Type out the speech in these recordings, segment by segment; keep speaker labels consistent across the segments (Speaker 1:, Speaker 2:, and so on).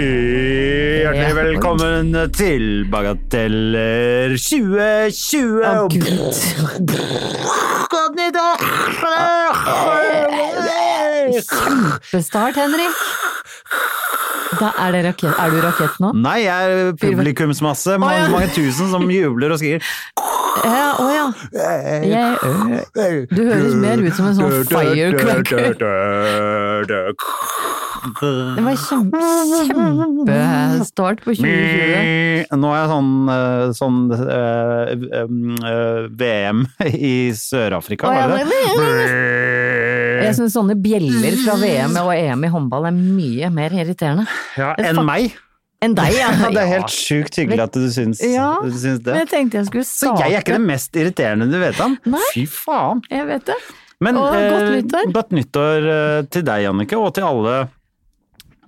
Speaker 1: Hjertelig velkommen til Bagateller 2020. Og Godt nyttår!
Speaker 2: Kjempestart, Henrik. Da er, det rakett. er du rakett nå?
Speaker 1: Nei, jeg er publikumsmasse. Mange, mange tusen som jubler og skriker.
Speaker 2: Ja, å ja. Jeg, du høres mer ut som en sånn firecracker. Det var kjempe, kjempestart på 2020.
Speaker 1: Nå er jeg sånn, eh, sånn eh, em, eh, VM i Sør-Afrika,
Speaker 2: Å, ja,
Speaker 1: var det
Speaker 2: Jeg
Speaker 1: det?
Speaker 2: syns sånne bjeller fra VM og EM i håndball er mye mer irriterende.
Speaker 1: Ja, enn meg.
Speaker 2: Enn deg, ja.
Speaker 1: Ja, det er helt sjukt hyggelig at du syns,
Speaker 2: Ja,
Speaker 1: du syns
Speaker 2: Men
Speaker 1: det.
Speaker 2: jeg tenkte jeg skulle
Speaker 1: Så
Speaker 2: starte
Speaker 1: jeg er ikke den mest irriterende du vet om.
Speaker 2: Nei.
Speaker 1: Fy faen.
Speaker 2: Jeg vet det.
Speaker 1: Men,
Speaker 2: Og godt
Speaker 1: eh,
Speaker 2: nyttår.
Speaker 1: godt nyttår eh, til deg, Jannicke, og til alle,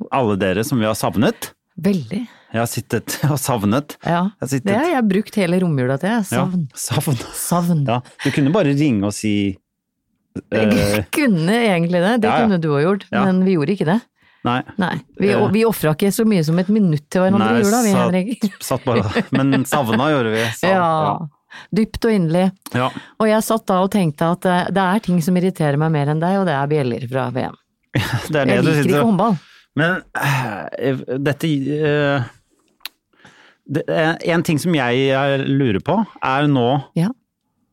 Speaker 1: alle dere som vi har savnet.
Speaker 2: Veldig.
Speaker 1: Jeg har sittet og savnet.
Speaker 2: Ja.
Speaker 1: Jeg har sittet-
Speaker 2: Det har jeg brukt hele romjula til. jeg.
Speaker 1: Ja,
Speaker 2: Savn.
Speaker 1: savn.
Speaker 2: Savn.
Speaker 1: Ja, du kunne bare ringe og si eh,
Speaker 2: Jeg kunne egentlig det, det
Speaker 1: ja, ja.
Speaker 2: kunne du ha gjort,
Speaker 1: Ja.
Speaker 2: men vi gjorde ikke det.
Speaker 1: Nei.
Speaker 2: Nei, Vi,
Speaker 1: Eh.
Speaker 2: vi ofra ikke så mye som et minutt til hverandre
Speaker 1: Nei,
Speaker 2: i jula, vi, Henrik.
Speaker 1: satt, satt bare Men savna gjorde vi. Savn,
Speaker 2: Ja. Dypt og inderlig.
Speaker 1: ja.
Speaker 2: Og jeg satt da og tenkte at eh, det er ting som irriterer meg mer enn deg, og det er bjeller fra VM.
Speaker 1: Ja, Det er det
Speaker 2: Jeg
Speaker 1: du
Speaker 2: liker
Speaker 1: sitter
Speaker 2: ikke
Speaker 1: og
Speaker 2: håndball.
Speaker 1: Men eh, dette eh, det, er En ting som jeg eh, lurer på, er nå
Speaker 2: Ja.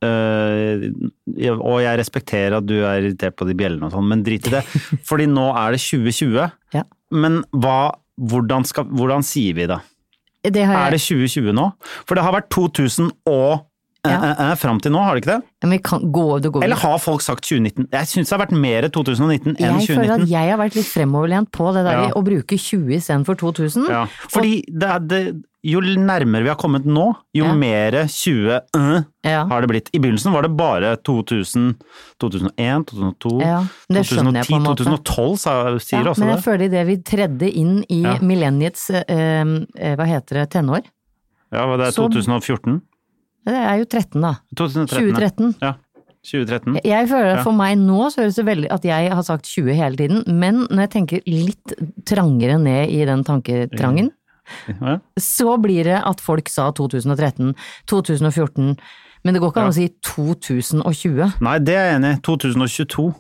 Speaker 1: eh, jeg- Og jeg respekterer at du er irritert på de bjellene og sånn, men drit i det. Fordi nå er det 2020.
Speaker 2: Ja.
Speaker 1: Men hva, hvordan, skal, hvordan sier vi det?
Speaker 2: Det
Speaker 1: Er
Speaker 2: har
Speaker 1: det
Speaker 2: jeg.
Speaker 1: 2020 nå? For det har vært 2000 og eh,
Speaker 2: Ja.
Speaker 1: eh, eh, fram til nå, har det ikke det?
Speaker 2: Men vi kan gå, det går
Speaker 1: Eller har folk sagt 2019? Jeg syns det har vært mer 2019 enn
Speaker 2: jeg
Speaker 1: 2019.
Speaker 2: føler at jeg har vært litt fremoverlent på det der
Speaker 1: Ja.
Speaker 2: i å bruke 20 istedenfor 2000.
Speaker 1: Ja, fordi det er, det, jo nærmere vi har kommet nå, jo
Speaker 2: Ja.
Speaker 1: mer 20 øh,
Speaker 2: Ja.
Speaker 1: har det blitt. I begynnelsen var det bare 2000, 2001, 2002,
Speaker 2: Ja, det skjønner jeg
Speaker 1: 2010,
Speaker 2: på en måte.
Speaker 1: 2012, sa, sier
Speaker 2: Ja,
Speaker 1: også
Speaker 2: men
Speaker 1: altså, det.
Speaker 2: jeg føler idet vi tredde inn i
Speaker 1: Ja.
Speaker 2: millenniets eh, eh, hva heter det, tenår
Speaker 1: Ja, var det er
Speaker 2: Så-
Speaker 1: 2014?
Speaker 2: Det er jo 13, da.
Speaker 1: 2013.
Speaker 2: 2013.
Speaker 1: Ja, 2013.
Speaker 2: Jeg føler at
Speaker 1: Ja.
Speaker 2: For meg nå så høres det veldig at jeg har sagt 20 hele tiden, men når jeg tenker litt trangere ned i den tanketrangen,
Speaker 1: Ja.
Speaker 2: så blir det at folk sa 2013, 2014, men det går ikke an å si 2020.
Speaker 1: Nei, det er jeg enig i. 2022.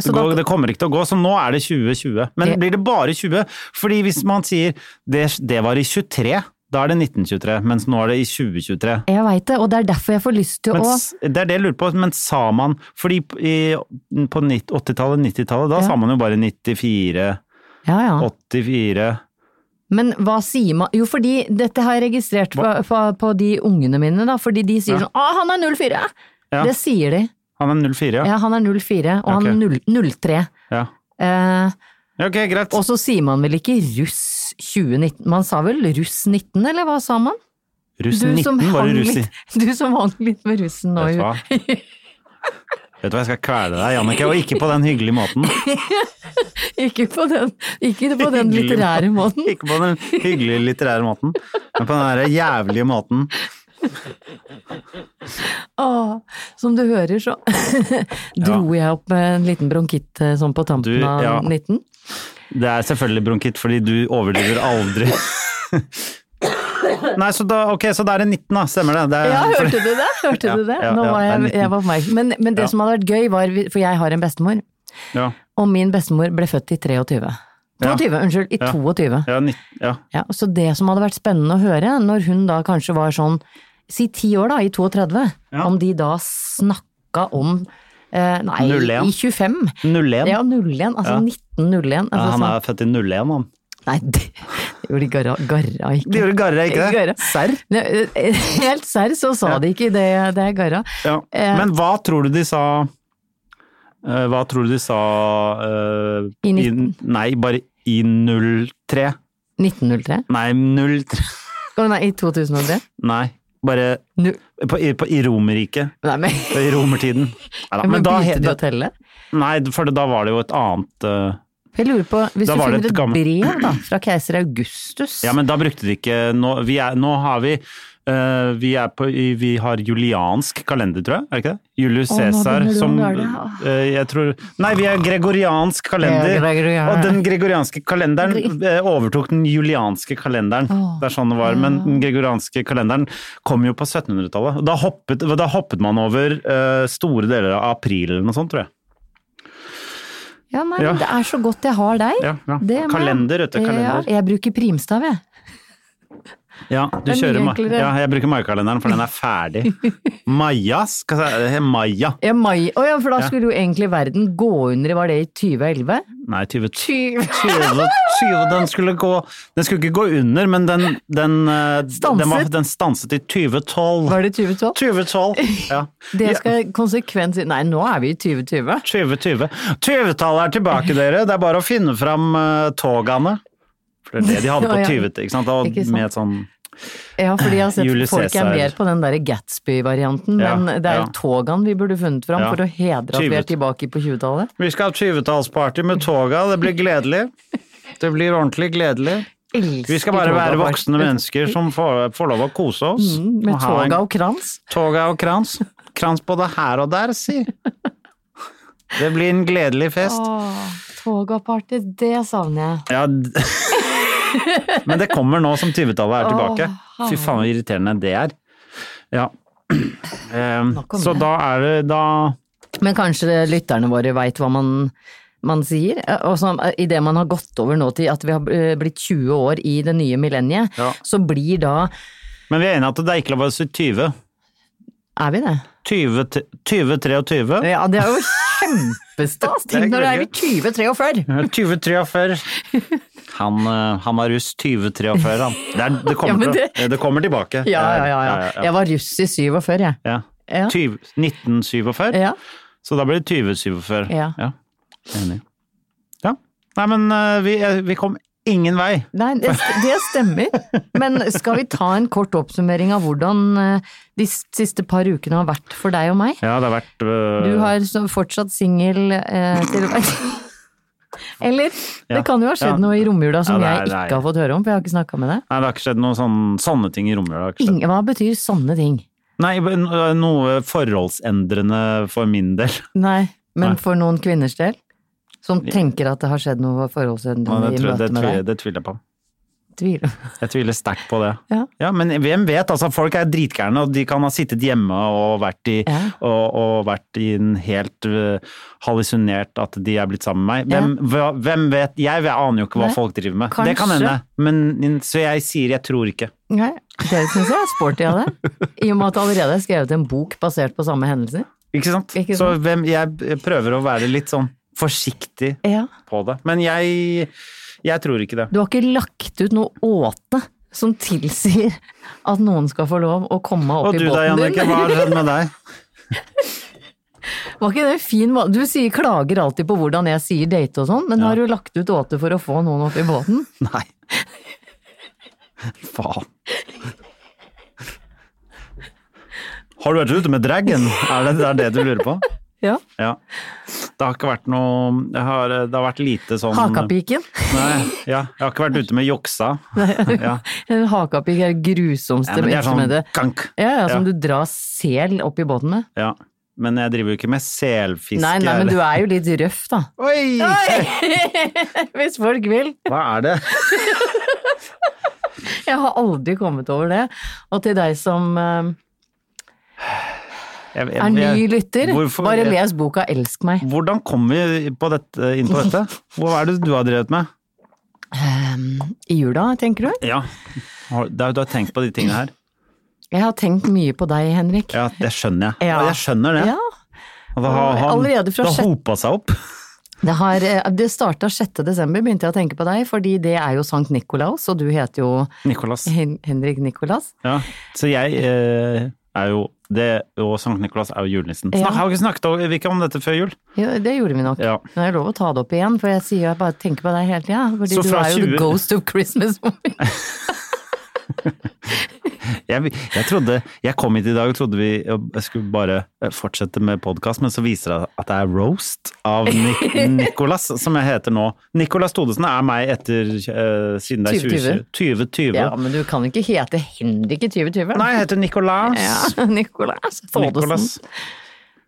Speaker 2: Så
Speaker 1: Går-
Speaker 2: da-
Speaker 1: det kommer ikke til å gå, så nå er det 2020. Men
Speaker 2: Det-
Speaker 1: blir det bare 20? Fordi hvis man sier det, det var i 23, da er det 1923, mens nå er det i 2023.
Speaker 2: Jeg veit det, og det er derfor jeg får lyst til
Speaker 1: Men,
Speaker 2: å
Speaker 1: s- det er det jeg lurer på, men sa man Fordi p- i, på nitt- 80-tallet, 90-tallet, da
Speaker 2: Ja.
Speaker 1: sa man jo bare 94,
Speaker 2: Ja, ja.
Speaker 1: 84
Speaker 2: Men hva sier man Jo, fordi dette har jeg registrert på, på, på de ungene mine, da. Fordi de sier
Speaker 1: Ja.
Speaker 2: sånn 'Å, han er 04'!
Speaker 1: Ja.
Speaker 2: Det sier de.
Speaker 1: Han er 04, ja.
Speaker 2: Ja, han er 04, og
Speaker 1: Ok.
Speaker 2: han er null- 03.
Speaker 1: ja.
Speaker 2: Eh,
Speaker 1: Ja, Ok, greit.
Speaker 2: og så sier man vel ikke russ 2019? Man sa vel russ 19, eller hva sa man?
Speaker 1: Russ 19 var det russ i.
Speaker 2: litt, du som hang litt med russen nå.
Speaker 1: Vet du
Speaker 2: jo.
Speaker 1: hva? Vet du hva, jeg skal kvele deg, Jannicke, og ikke på den hyggelige måten.
Speaker 2: Ikke på den, ikke på den
Speaker 1: Hyggelig
Speaker 2: litterære måten.
Speaker 1: Ikke på den hyggelige litterære måten, men på den der jævlige måten.
Speaker 2: Åh, som du hører, så dro jeg opp med en liten bronkitt eh, sånn på
Speaker 1: Du,
Speaker 2: tampen
Speaker 1: ja.
Speaker 2: av 19.
Speaker 1: Det er selvfølgelig bronkitt, fordi du overdriver aldri. Nei, så da, ok, så da er det 19, da. Stemmer det? det er,
Speaker 2: Ja, hørte du det? Hørte
Speaker 1: Ja,
Speaker 2: du det?
Speaker 1: ja,
Speaker 2: Nå
Speaker 1: ja,
Speaker 2: var
Speaker 1: det er
Speaker 2: jeg,
Speaker 1: 19.
Speaker 2: jeg var oppmerksom. Men, men det
Speaker 1: Ja.
Speaker 2: som hadde vært gøy, var For jeg har en bestemor,
Speaker 1: Ja,
Speaker 2: og min bestemor ble født i 23. 22, unnskyld. I
Speaker 1: Ja.
Speaker 2: 22.
Speaker 1: ja, 19, ja.
Speaker 2: Ja, så det som hadde vært spennende å høre, når hun da kanskje var sånn Si ti år, da, i 32.
Speaker 1: Ja.
Speaker 2: Om de da snakka om eh, Nei,
Speaker 1: 01.
Speaker 2: i 25.
Speaker 1: 01.
Speaker 2: Ja, 01. Altså
Speaker 1: Ja.
Speaker 2: 1901. Altså,
Speaker 1: Ja, han
Speaker 2: sånn-
Speaker 1: er født i 01, han.
Speaker 2: Nei, det det gjorde de garra, garra ikke.
Speaker 1: De gjorde garra, ikke det?
Speaker 2: Garra.
Speaker 1: Serr?
Speaker 2: Ne, eh, Helt serr, så sa
Speaker 1: Ja.
Speaker 2: de ikke det, det er garra.
Speaker 1: Ja.
Speaker 2: Eh.
Speaker 1: Men hva tror du de sa eh, Hva tror du de sa eh,
Speaker 2: I 19?
Speaker 1: Nei, bare i 03.
Speaker 2: 1903?
Speaker 1: Nei, 03
Speaker 2: Å nei, i 2003?
Speaker 1: Nei, bare
Speaker 2: Nu,
Speaker 1: på, i, på, i Romerriket.
Speaker 2: nei, men,
Speaker 1: I romertiden. Neida,
Speaker 2: men,
Speaker 1: men da, he-
Speaker 2: begynte de
Speaker 1: da,
Speaker 2: å telle?
Speaker 1: nei, for da var det jo et annet eh,
Speaker 2: Jeg lurer på, Hvis
Speaker 1: Da
Speaker 2: du
Speaker 1: var det
Speaker 2: finner
Speaker 1: et
Speaker 2: et
Speaker 1: gammelt-
Speaker 2: brev da, fra keiser Augustus
Speaker 1: Ja, men da brukte de ikke Nå, vi er, nå har vi eh, vi, er på, i- vi har juliansk kalender, tror jeg. Er det ikke det? Julius
Speaker 2: Å, nå
Speaker 1: Cæsar
Speaker 2: begynner du å
Speaker 1: som
Speaker 2: nøle.
Speaker 1: eh, Jeg tror Nei, vi er gregoriansk kalender.
Speaker 2: Ja, gregorian-
Speaker 1: Og den gregorianske kalenderen eh, overtok den julianske kalenderen.
Speaker 2: Å.
Speaker 1: Det er sånn det var. Men den gregorianske kalenderen kom jo på 1700-tallet. og Da, hoppet- da hoppet man over eh, store deler av april eller noe sånt, tror jeg.
Speaker 2: Ja, nei,
Speaker 1: Ja.
Speaker 2: men det er så godt jeg har deg.
Speaker 1: Ja, ja.
Speaker 2: Det må jeg-
Speaker 1: Kalender, vet du, kalender.
Speaker 2: Ja, jeg bruker primstav, jeg.
Speaker 1: Ja, du
Speaker 2: Det er mye
Speaker 1: kjører ma-
Speaker 2: enklere.
Speaker 1: ja, jeg bruker maikalenderen, for den er ferdig. Maja, skal jeg si det heter Maja.
Speaker 2: Ja, mai. Å ja, for da skulle jo egentlig verden gå under, var det i 2011?
Speaker 1: Nei, 20...
Speaker 2: 20.
Speaker 1: 20, 20 den, skulle gå, den skulle ikke gå under, men den, den, eh, den, var,
Speaker 2: Stanset.
Speaker 1: den stanset i 2012.
Speaker 2: Var det 2012?
Speaker 1: 2012! Ja.
Speaker 2: Det skal konsekvens Nei, nå er vi i 2020.
Speaker 1: 2020. 20-tallet er tilbake, dere! Det er bare å finne fram eh, togene. For det er det de hadde på
Speaker 2: Ja, ja.
Speaker 1: 20, ikke sant? Da,
Speaker 2: Ikke sant.
Speaker 1: Med et sånn
Speaker 2: Ja, fordi jeg har sett
Speaker 1: Julius
Speaker 2: folk er
Speaker 1: Caesar.
Speaker 2: mer på den derre Gatsby-varianten,
Speaker 1: Ja,
Speaker 2: men det er jo
Speaker 1: ja.
Speaker 2: togene vi burde funnet fram
Speaker 1: Ja.
Speaker 2: for å hedre at vi
Speaker 1: 20.
Speaker 2: er tilbake på 20-tallet.
Speaker 1: Vi skal ha 20-tallsparty med toga, det blir gledelig. Det blir ordentlig gledelig. Vi skal bare være voksne mennesker som får, får lov å kose oss.
Speaker 2: Mm, Med
Speaker 1: og ha en-
Speaker 2: toga og krans.
Speaker 1: toga og krans. Krans både her og der, si. Det blir en gledelig fest.
Speaker 2: Toga-party, det savner jeg.
Speaker 1: Ja, d- men det kommer nå som 20-tallet er tilbake.
Speaker 2: Åh,
Speaker 1: Fy faen, hvor irriterende det er. Ja. Ehm,
Speaker 2: Nok om
Speaker 1: Så
Speaker 2: det.
Speaker 1: da er det da
Speaker 2: Men kanskje lytterne våre veit hva man, man sier? Eh, Og som, eh, i det man har gått over nå til at vi har eh, blitt 20 år i det nye millenniet,
Speaker 1: Ja.
Speaker 2: så blir da
Speaker 1: Men vi er enige at det er ikke lov å si 20.
Speaker 2: Er vi det?
Speaker 1: 20, t- 20 23.
Speaker 2: Ja, det er jo kjempestas!
Speaker 1: Det er
Speaker 2: Tenk når det er i
Speaker 1: gøy.
Speaker 2: 2043!
Speaker 1: 2043. Han, eh, han var russ 2043, han. Det, er, det,
Speaker 2: Ja,
Speaker 1: kommer
Speaker 2: men
Speaker 1: til-
Speaker 2: det-
Speaker 1: det kommer tilbake.
Speaker 2: Ja, ja, ja, ja. Jeg var russ i 47, jeg.
Speaker 1: Ja.
Speaker 2: Ja.
Speaker 1: 20, 1947.
Speaker 2: Ja.
Speaker 1: Så da blir det 2047.
Speaker 2: Ja.
Speaker 1: Enig. Ja. Nei, men eh, vi, eh, vi kom ingen vei.
Speaker 2: Nei, det, det stemmer. Men skal vi ta en kort oppsummering av hvordan eh, de siste par ukene har vært for deg og meg?
Speaker 1: Ja, det har vært eh,
Speaker 2: Du har så fortsatt singel eh, til Eller
Speaker 1: Ja.
Speaker 2: det kan jo ha skjedd
Speaker 1: Ja.
Speaker 2: noe i romjula som
Speaker 1: Ja, det er-
Speaker 2: jeg
Speaker 1: det er-
Speaker 2: ikke har fått høre om, for jeg har ikke snakka med deg.
Speaker 1: Nei, det har ikke skjedd noen sånne, sånne ting i romjula. det har ikke skjedd.
Speaker 2: Ingen- Hva betyr sånne ting?
Speaker 1: Nei, men, eh, noe forholdsendrende for min del.
Speaker 2: Nei, men
Speaker 1: Nei.
Speaker 2: for noen kvinners del? Som tenker at det har skjedd noe
Speaker 1: Og
Speaker 2: forholdsendrende
Speaker 1: det,
Speaker 2: i
Speaker 1: tror-
Speaker 2: møte
Speaker 1: det,
Speaker 2: med
Speaker 1: tviler-
Speaker 2: deg?
Speaker 1: det tviler jeg på.
Speaker 2: Tviler.
Speaker 1: Jeg tviler sterkt på det.
Speaker 2: Ja.
Speaker 1: men hvem vet? Altså, folk er dritgærne, og de kan ha sittet hjemme og vært i,
Speaker 2: Ja.
Speaker 1: og, og vært i en helt øh, hallusinert at de er blitt sammen med meg. Hvem, hva- hvem vet? Jeg, jeg aner jo ikke hva
Speaker 2: Nei.
Speaker 1: folk driver med. Det kan
Speaker 2: Kanskje.
Speaker 1: hende. Men, så jeg sier jeg tror ikke.
Speaker 2: Nei, det syns jeg er sporty av deg. I og med at det allerede er skrevet en bok basert på samme hendelser.
Speaker 1: Ikke sant?
Speaker 2: Ikke
Speaker 1: Så
Speaker 2: sant?
Speaker 1: hvem, jeg prøver å være litt sånn forsiktig
Speaker 2: Ja.
Speaker 1: på det. Men jeg, jeg tror ikke det.
Speaker 2: Du har ikke lagt ut noe åte som tilsier at noen skal få lov å komme opp
Speaker 1: Og du
Speaker 2: i
Speaker 1: da,
Speaker 2: båten din?
Speaker 1: Jannicke, hva har skjedd med deg?
Speaker 2: Var ikke det en fin må- Du sier, klager alltid på hvordan jeg sier date og sånn, men har du lagt ut åte for å få noen opp i båten?
Speaker 1: Nei. Faen. Har du vært ute med dragen? Er det, det er det du lurer på?
Speaker 2: Ja.
Speaker 1: Ja. Det har ikke vært noe Det har, det har vært lite sånn
Speaker 2: Hakapiken.
Speaker 1: Nei, ja. Jeg har ikke vært ute med juksa. Ja.
Speaker 2: En hakapik er det
Speaker 1: Ja,
Speaker 2: grusomste
Speaker 1: men det er sånn
Speaker 2: instrumentet.
Speaker 1: kank.
Speaker 2: Ja, ja, som
Speaker 1: Ja.
Speaker 2: du drar sel opp i båten med.
Speaker 1: Ja. Men jeg driver jo ikke med selfiske.
Speaker 2: Nei, nei, men
Speaker 1: eller-
Speaker 2: du er jo litt røff, da.
Speaker 1: Oi!
Speaker 2: Hvis folk vil.
Speaker 1: Hva er det?
Speaker 2: Jeg har aldri kommet over det. Og til deg som eh,
Speaker 1: Jeg- jeg-
Speaker 2: er ny
Speaker 1: jeg-
Speaker 2: lytter,
Speaker 1: Hvorfor-
Speaker 2: bare
Speaker 1: jeg-
Speaker 2: les boka Elsk meg.
Speaker 1: Hvordan kom vi på dette, inn på dette? Hva er det du har drevet med?
Speaker 2: I jula, tenker du?
Speaker 1: Ja. Har- Du har du har tenkt på de tingene her?
Speaker 2: Jeg har tenkt mye på deg, Henrik.
Speaker 1: Ja, det skjønner jeg.
Speaker 2: Ja.
Speaker 1: Jeg skjønner det.
Speaker 2: Ja.
Speaker 1: Og da har han,
Speaker 2: Allerede fra
Speaker 1: det har
Speaker 2: sjette-
Speaker 1: hopa seg opp.
Speaker 2: Det, har, eh, det starta 6. desember, begynte jeg å tenke på deg, fordi det er jo Sankt Nikolaus, og du heter jo
Speaker 1: Nikolas.
Speaker 2: Hen Henrik Nikolas.
Speaker 1: Ja. Så jeg eh, er jo det, Og Sankt Nikolas er jo julenissen.
Speaker 2: Ja.
Speaker 1: Snak- Har vi ikke snakket om, vi ikke om dette før jul?
Speaker 2: Jo, det gjorde vi nok.
Speaker 1: Ja.
Speaker 2: Nå er det lov å ta det opp igjen, for jeg sier jo jeg bare tenker på deg hele tida. Fordi
Speaker 1: Så
Speaker 2: du
Speaker 1: fra
Speaker 2: er jo
Speaker 1: 20
Speaker 2: the ghost of Christmas.
Speaker 1: Jeg, jeg trodde, jeg kom hit i dag og trodde vi jeg skulle bare eh, fortsette med podkast, men så viser det at det er roast av Nik Nikolas, som jeg heter nå. Nikolas Todesen er meg etter eh, siden det er 2020. 2020.
Speaker 2: ja, men du kan ikke hete Henrik i 2020.
Speaker 1: Nei, jeg heter Nikolas.
Speaker 2: Ja, Nicolas Thodesen.
Speaker 1: Nikolas.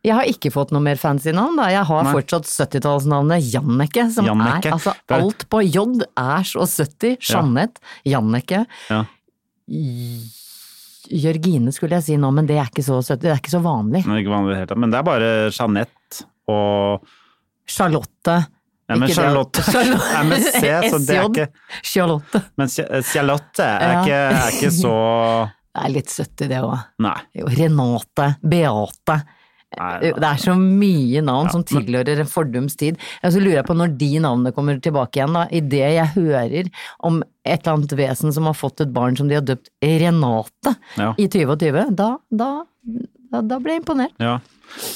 Speaker 2: Jeg har ikke fått noe mer fancy navn, da. Jeg har
Speaker 1: Nei.
Speaker 2: fortsatt 70-tallsnavnet Jannicke, som
Speaker 1: Jannicke.
Speaker 2: er altså
Speaker 1: Det er-
Speaker 2: alt på J er så 70. Jeanette, Jannicke.
Speaker 1: Ja.
Speaker 2: Jørgine skulle jeg si nå, men det er ikke så 70, det er ikke så vanlig.
Speaker 1: Men ikke vanlig i det hele tatt. Men det er bare Jeanette og
Speaker 2: Charlotte.
Speaker 1: Nei, men
Speaker 2: Ikke det-
Speaker 1: Charlotte er med C, så det er ikke
Speaker 2: SJ. Charlotte.
Speaker 1: Men Ch- eh, Charlotte er,
Speaker 2: Ja.
Speaker 1: ikke, er ikke så
Speaker 2: Det er litt 70 det òg.
Speaker 1: Nei.
Speaker 2: Renate. Beate.
Speaker 1: Nei, nei.
Speaker 2: Det er så mye navn som tilhører en fordums tid. Jeg så lurer jeg på når de navnene kommer tilbake igjen, da. Idet jeg hører om et eller annet vesen som har fått et barn som de har døpt Renate
Speaker 1: Ja.
Speaker 2: i 2020, da, da, da, da ble jeg imponert.
Speaker 1: Ja.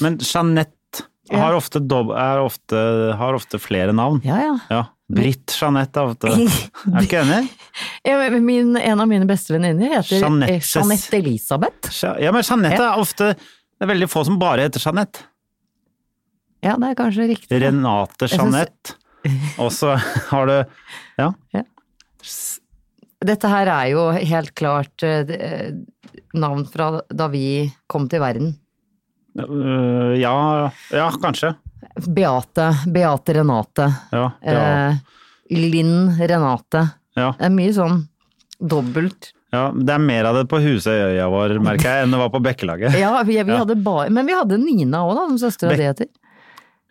Speaker 1: Men Jeanette har, ofte dob er ofte, har ofte flere navn.
Speaker 2: Ja, ja.
Speaker 1: Ja. Britt Jeanette er ofte Er du ikke enig?
Speaker 2: Jeg- Min, en av mine beste venninner heter eh,
Speaker 1: Jeanettes.
Speaker 2: Jeanette Elisabeth.
Speaker 1: Ja, ja, men Jeanette er ofte Det er veldig få som bare heter Jeanette.
Speaker 2: Ja, det er kanskje riktig.
Speaker 1: Renate
Speaker 2: synes-
Speaker 1: Jeanette. Og så har du Ja.
Speaker 2: Dette her er jo helt klart eh, det, eh, navn fra da vi kom til verden.
Speaker 1: øh, Ja, ja kanskje.
Speaker 2: Beate, Beate Renate.
Speaker 1: Ja. ja,
Speaker 2: Eh, Linn Renate.
Speaker 1: ja.
Speaker 2: Det er mye sånn dobbelt.
Speaker 1: Ja, det er mer av det på Husøya vår, merker jeg, enn det var på Bekkelaget.
Speaker 2: Ja, vi, vi hadde bare Men vi hadde Nina òg, da, som søstera
Speaker 1: Bek-
Speaker 2: di heter.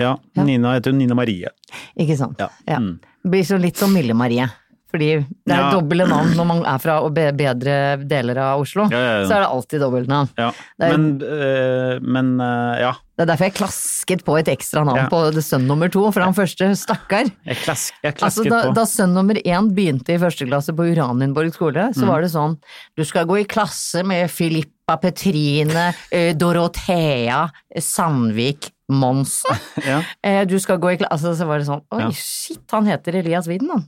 Speaker 1: Ja, Nina heter jo Nina Marie.
Speaker 2: Ikke sant.
Speaker 1: Ja. Mm.
Speaker 2: Blir så litt som Mille Marie. Fordi det er
Speaker 1: Ja.
Speaker 2: doble navn når man er fra og be- bedre deler av Oslo.
Speaker 1: Ja, ja, ja.
Speaker 2: Så er det alltid dobbeltnavn.
Speaker 1: Ja.
Speaker 2: Det er-
Speaker 1: Men, øh, men øh, ja.
Speaker 2: Det er derfor jeg klasket på et ekstra navn
Speaker 1: Ja.
Speaker 2: på sønn nummer to, for han første, stakkar.
Speaker 1: Jeg, klask, jeg
Speaker 2: Altså,
Speaker 1: klasket
Speaker 2: da,
Speaker 1: på.
Speaker 2: da sønn nummer én begynte i første klasse på Uranienborg skole,
Speaker 1: Mm.
Speaker 2: så var det sånn Du skal gå i klasse med Filippa Petrine, eh, Dorothea Sandvik Monsen.
Speaker 1: Ja.
Speaker 2: Eh, Du skal gå i klasse altså, Så var det sånn Oi,
Speaker 1: Ja.
Speaker 2: shit, han heter Elias Widen, han.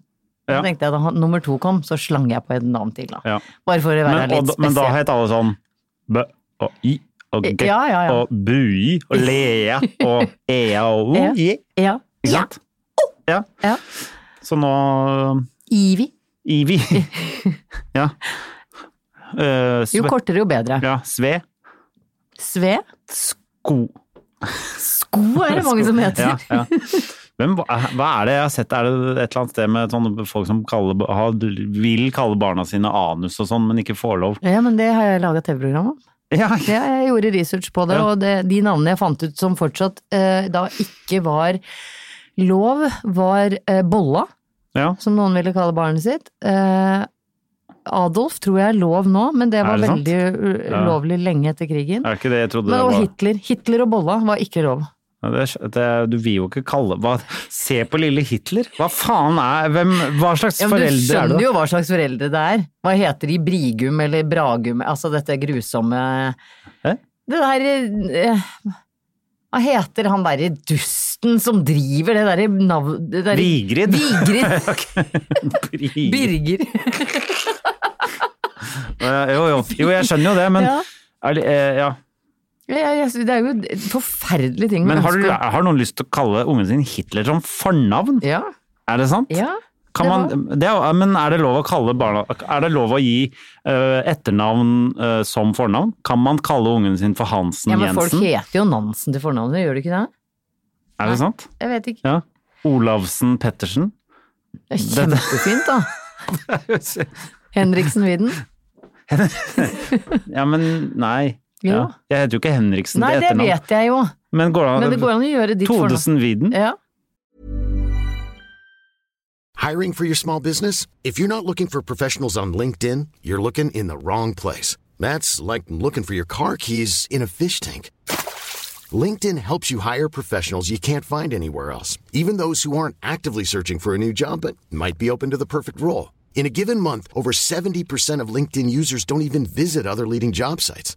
Speaker 2: Så
Speaker 1: Ja.
Speaker 2: tenkte jeg da han, nummer to kom, så slang jeg på et navn til, da.
Speaker 1: Ja.
Speaker 2: Bare for å være
Speaker 1: Men, og,
Speaker 2: litt
Speaker 1: da- men da
Speaker 2: spesiell.
Speaker 1: het alle sånn Bø og I og G
Speaker 2: Ja, ja, ja.
Speaker 1: og Bui og Lea og Ea og O.
Speaker 2: Ja.
Speaker 1: I,
Speaker 2: Ja.
Speaker 1: Ikke sant? Ja.
Speaker 2: Ja.
Speaker 1: Så nå øh,
Speaker 2: Ivi.
Speaker 1: Ivi. ja. Øh, sve,
Speaker 2: Jo kortere, jo bedre.
Speaker 1: Ja, Sve.
Speaker 2: Sve.
Speaker 1: Sko.
Speaker 2: Sko er det mange som heter.
Speaker 1: Ja, ja. Hvem, hva er det jeg har sett? Er det et eller annet sted med sånne folk som kaller, har, vil kalle barna sine anus og sånn, men ikke får lov?
Speaker 2: Ja, men det har jeg laga TV-program om.
Speaker 1: Ja,
Speaker 2: Ja, jeg gjorde research på det,
Speaker 1: Ja.
Speaker 2: og det, de navnene jeg fant ut som fortsatt eh, da ikke var lov, var eh, Bolla,
Speaker 1: ja.
Speaker 2: som noen ville kalle barnet sitt. Eh, Adolf tror jeg er lov nå, men det var
Speaker 1: Er det sant?
Speaker 2: veldig u-
Speaker 1: Ja.
Speaker 2: ulovlig lenge etter krigen.
Speaker 1: Er det ikke det jeg trodde
Speaker 2: Men,
Speaker 1: det
Speaker 2: og
Speaker 1: var?
Speaker 2: Hitler. Hitler og Bolla var ikke lov.
Speaker 1: Ja, Det, er- det, er- du vil jo ikke kalle hva, Se på lille Hitler! Hva faen er hvem, Hva slags
Speaker 2: Ja, men du
Speaker 1: foreldre er du?
Speaker 2: skjønner jo hva slags foreldre det er. Hva heter de? Brigum eller Bragum? Altså dette grusomme
Speaker 1: Hæ?
Speaker 2: Det der eh, Hva heter han derre dusten som driver det derre nav... Det derre-
Speaker 1: Vigrid.
Speaker 2: Vigrid.
Speaker 1: Bri-
Speaker 2: Birger.
Speaker 1: Ja, jo, jo. jo, jeg skjønner jo det, men
Speaker 2: Ja.
Speaker 1: er det, eh, ja.
Speaker 2: Ja, ja, ja, det er jo en forferdelig ting.
Speaker 1: Men har, du,
Speaker 2: mennesker-
Speaker 1: har noen lyst til å kalle ungen sin Hitler som fornavn?
Speaker 2: Ja.
Speaker 1: Er det sant?
Speaker 2: ja.
Speaker 1: Kan
Speaker 2: Det
Speaker 1: man, det, er- men er det lov å kalle barna Er det lov å gi eh, etternavn eh, som fornavn? Kan man kalle ungen sin for Hansen
Speaker 2: ja, men folk
Speaker 1: Jensen?
Speaker 2: heter jo Nansen til fornavnet, gjør de ikke det?
Speaker 1: Er det sant?
Speaker 2: Jeg vet ikke.
Speaker 1: Ja. Olavsen Pettersen?
Speaker 2: Det er kjempefint, da. Henriksen Widen.
Speaker 1: Ja, men nei.
Speaker 2: Jo.
Speaker 1: Ja. Jeg heter jo ikke Henriksen
Speaker 2: Nei,
Speaker 1: til
Speaker 2: det
Speaker 1: etternavn.
Speaker 2: vet jeg jo.
Speaker 1: Men går
Speaker 2: Men
Speaker 1: det
Speaker 2: det går an å gjøre ditt fornavn.
Speaker 1: Todesen Widen?
Speaker 2: Ja.
Speaker 3: Hiring for your small business? If you're not looking for professionals on LinkedIn, you're looking in the wrong place. That's like looking for your car keys in a fish tank. LinkedIn helps you hire professionals you can't find anywhere else, even those who aren't actively searching for a new job but might be open to the perfect role. In a given month, over 70% of LinkedIn users don't even visit other leading job sites.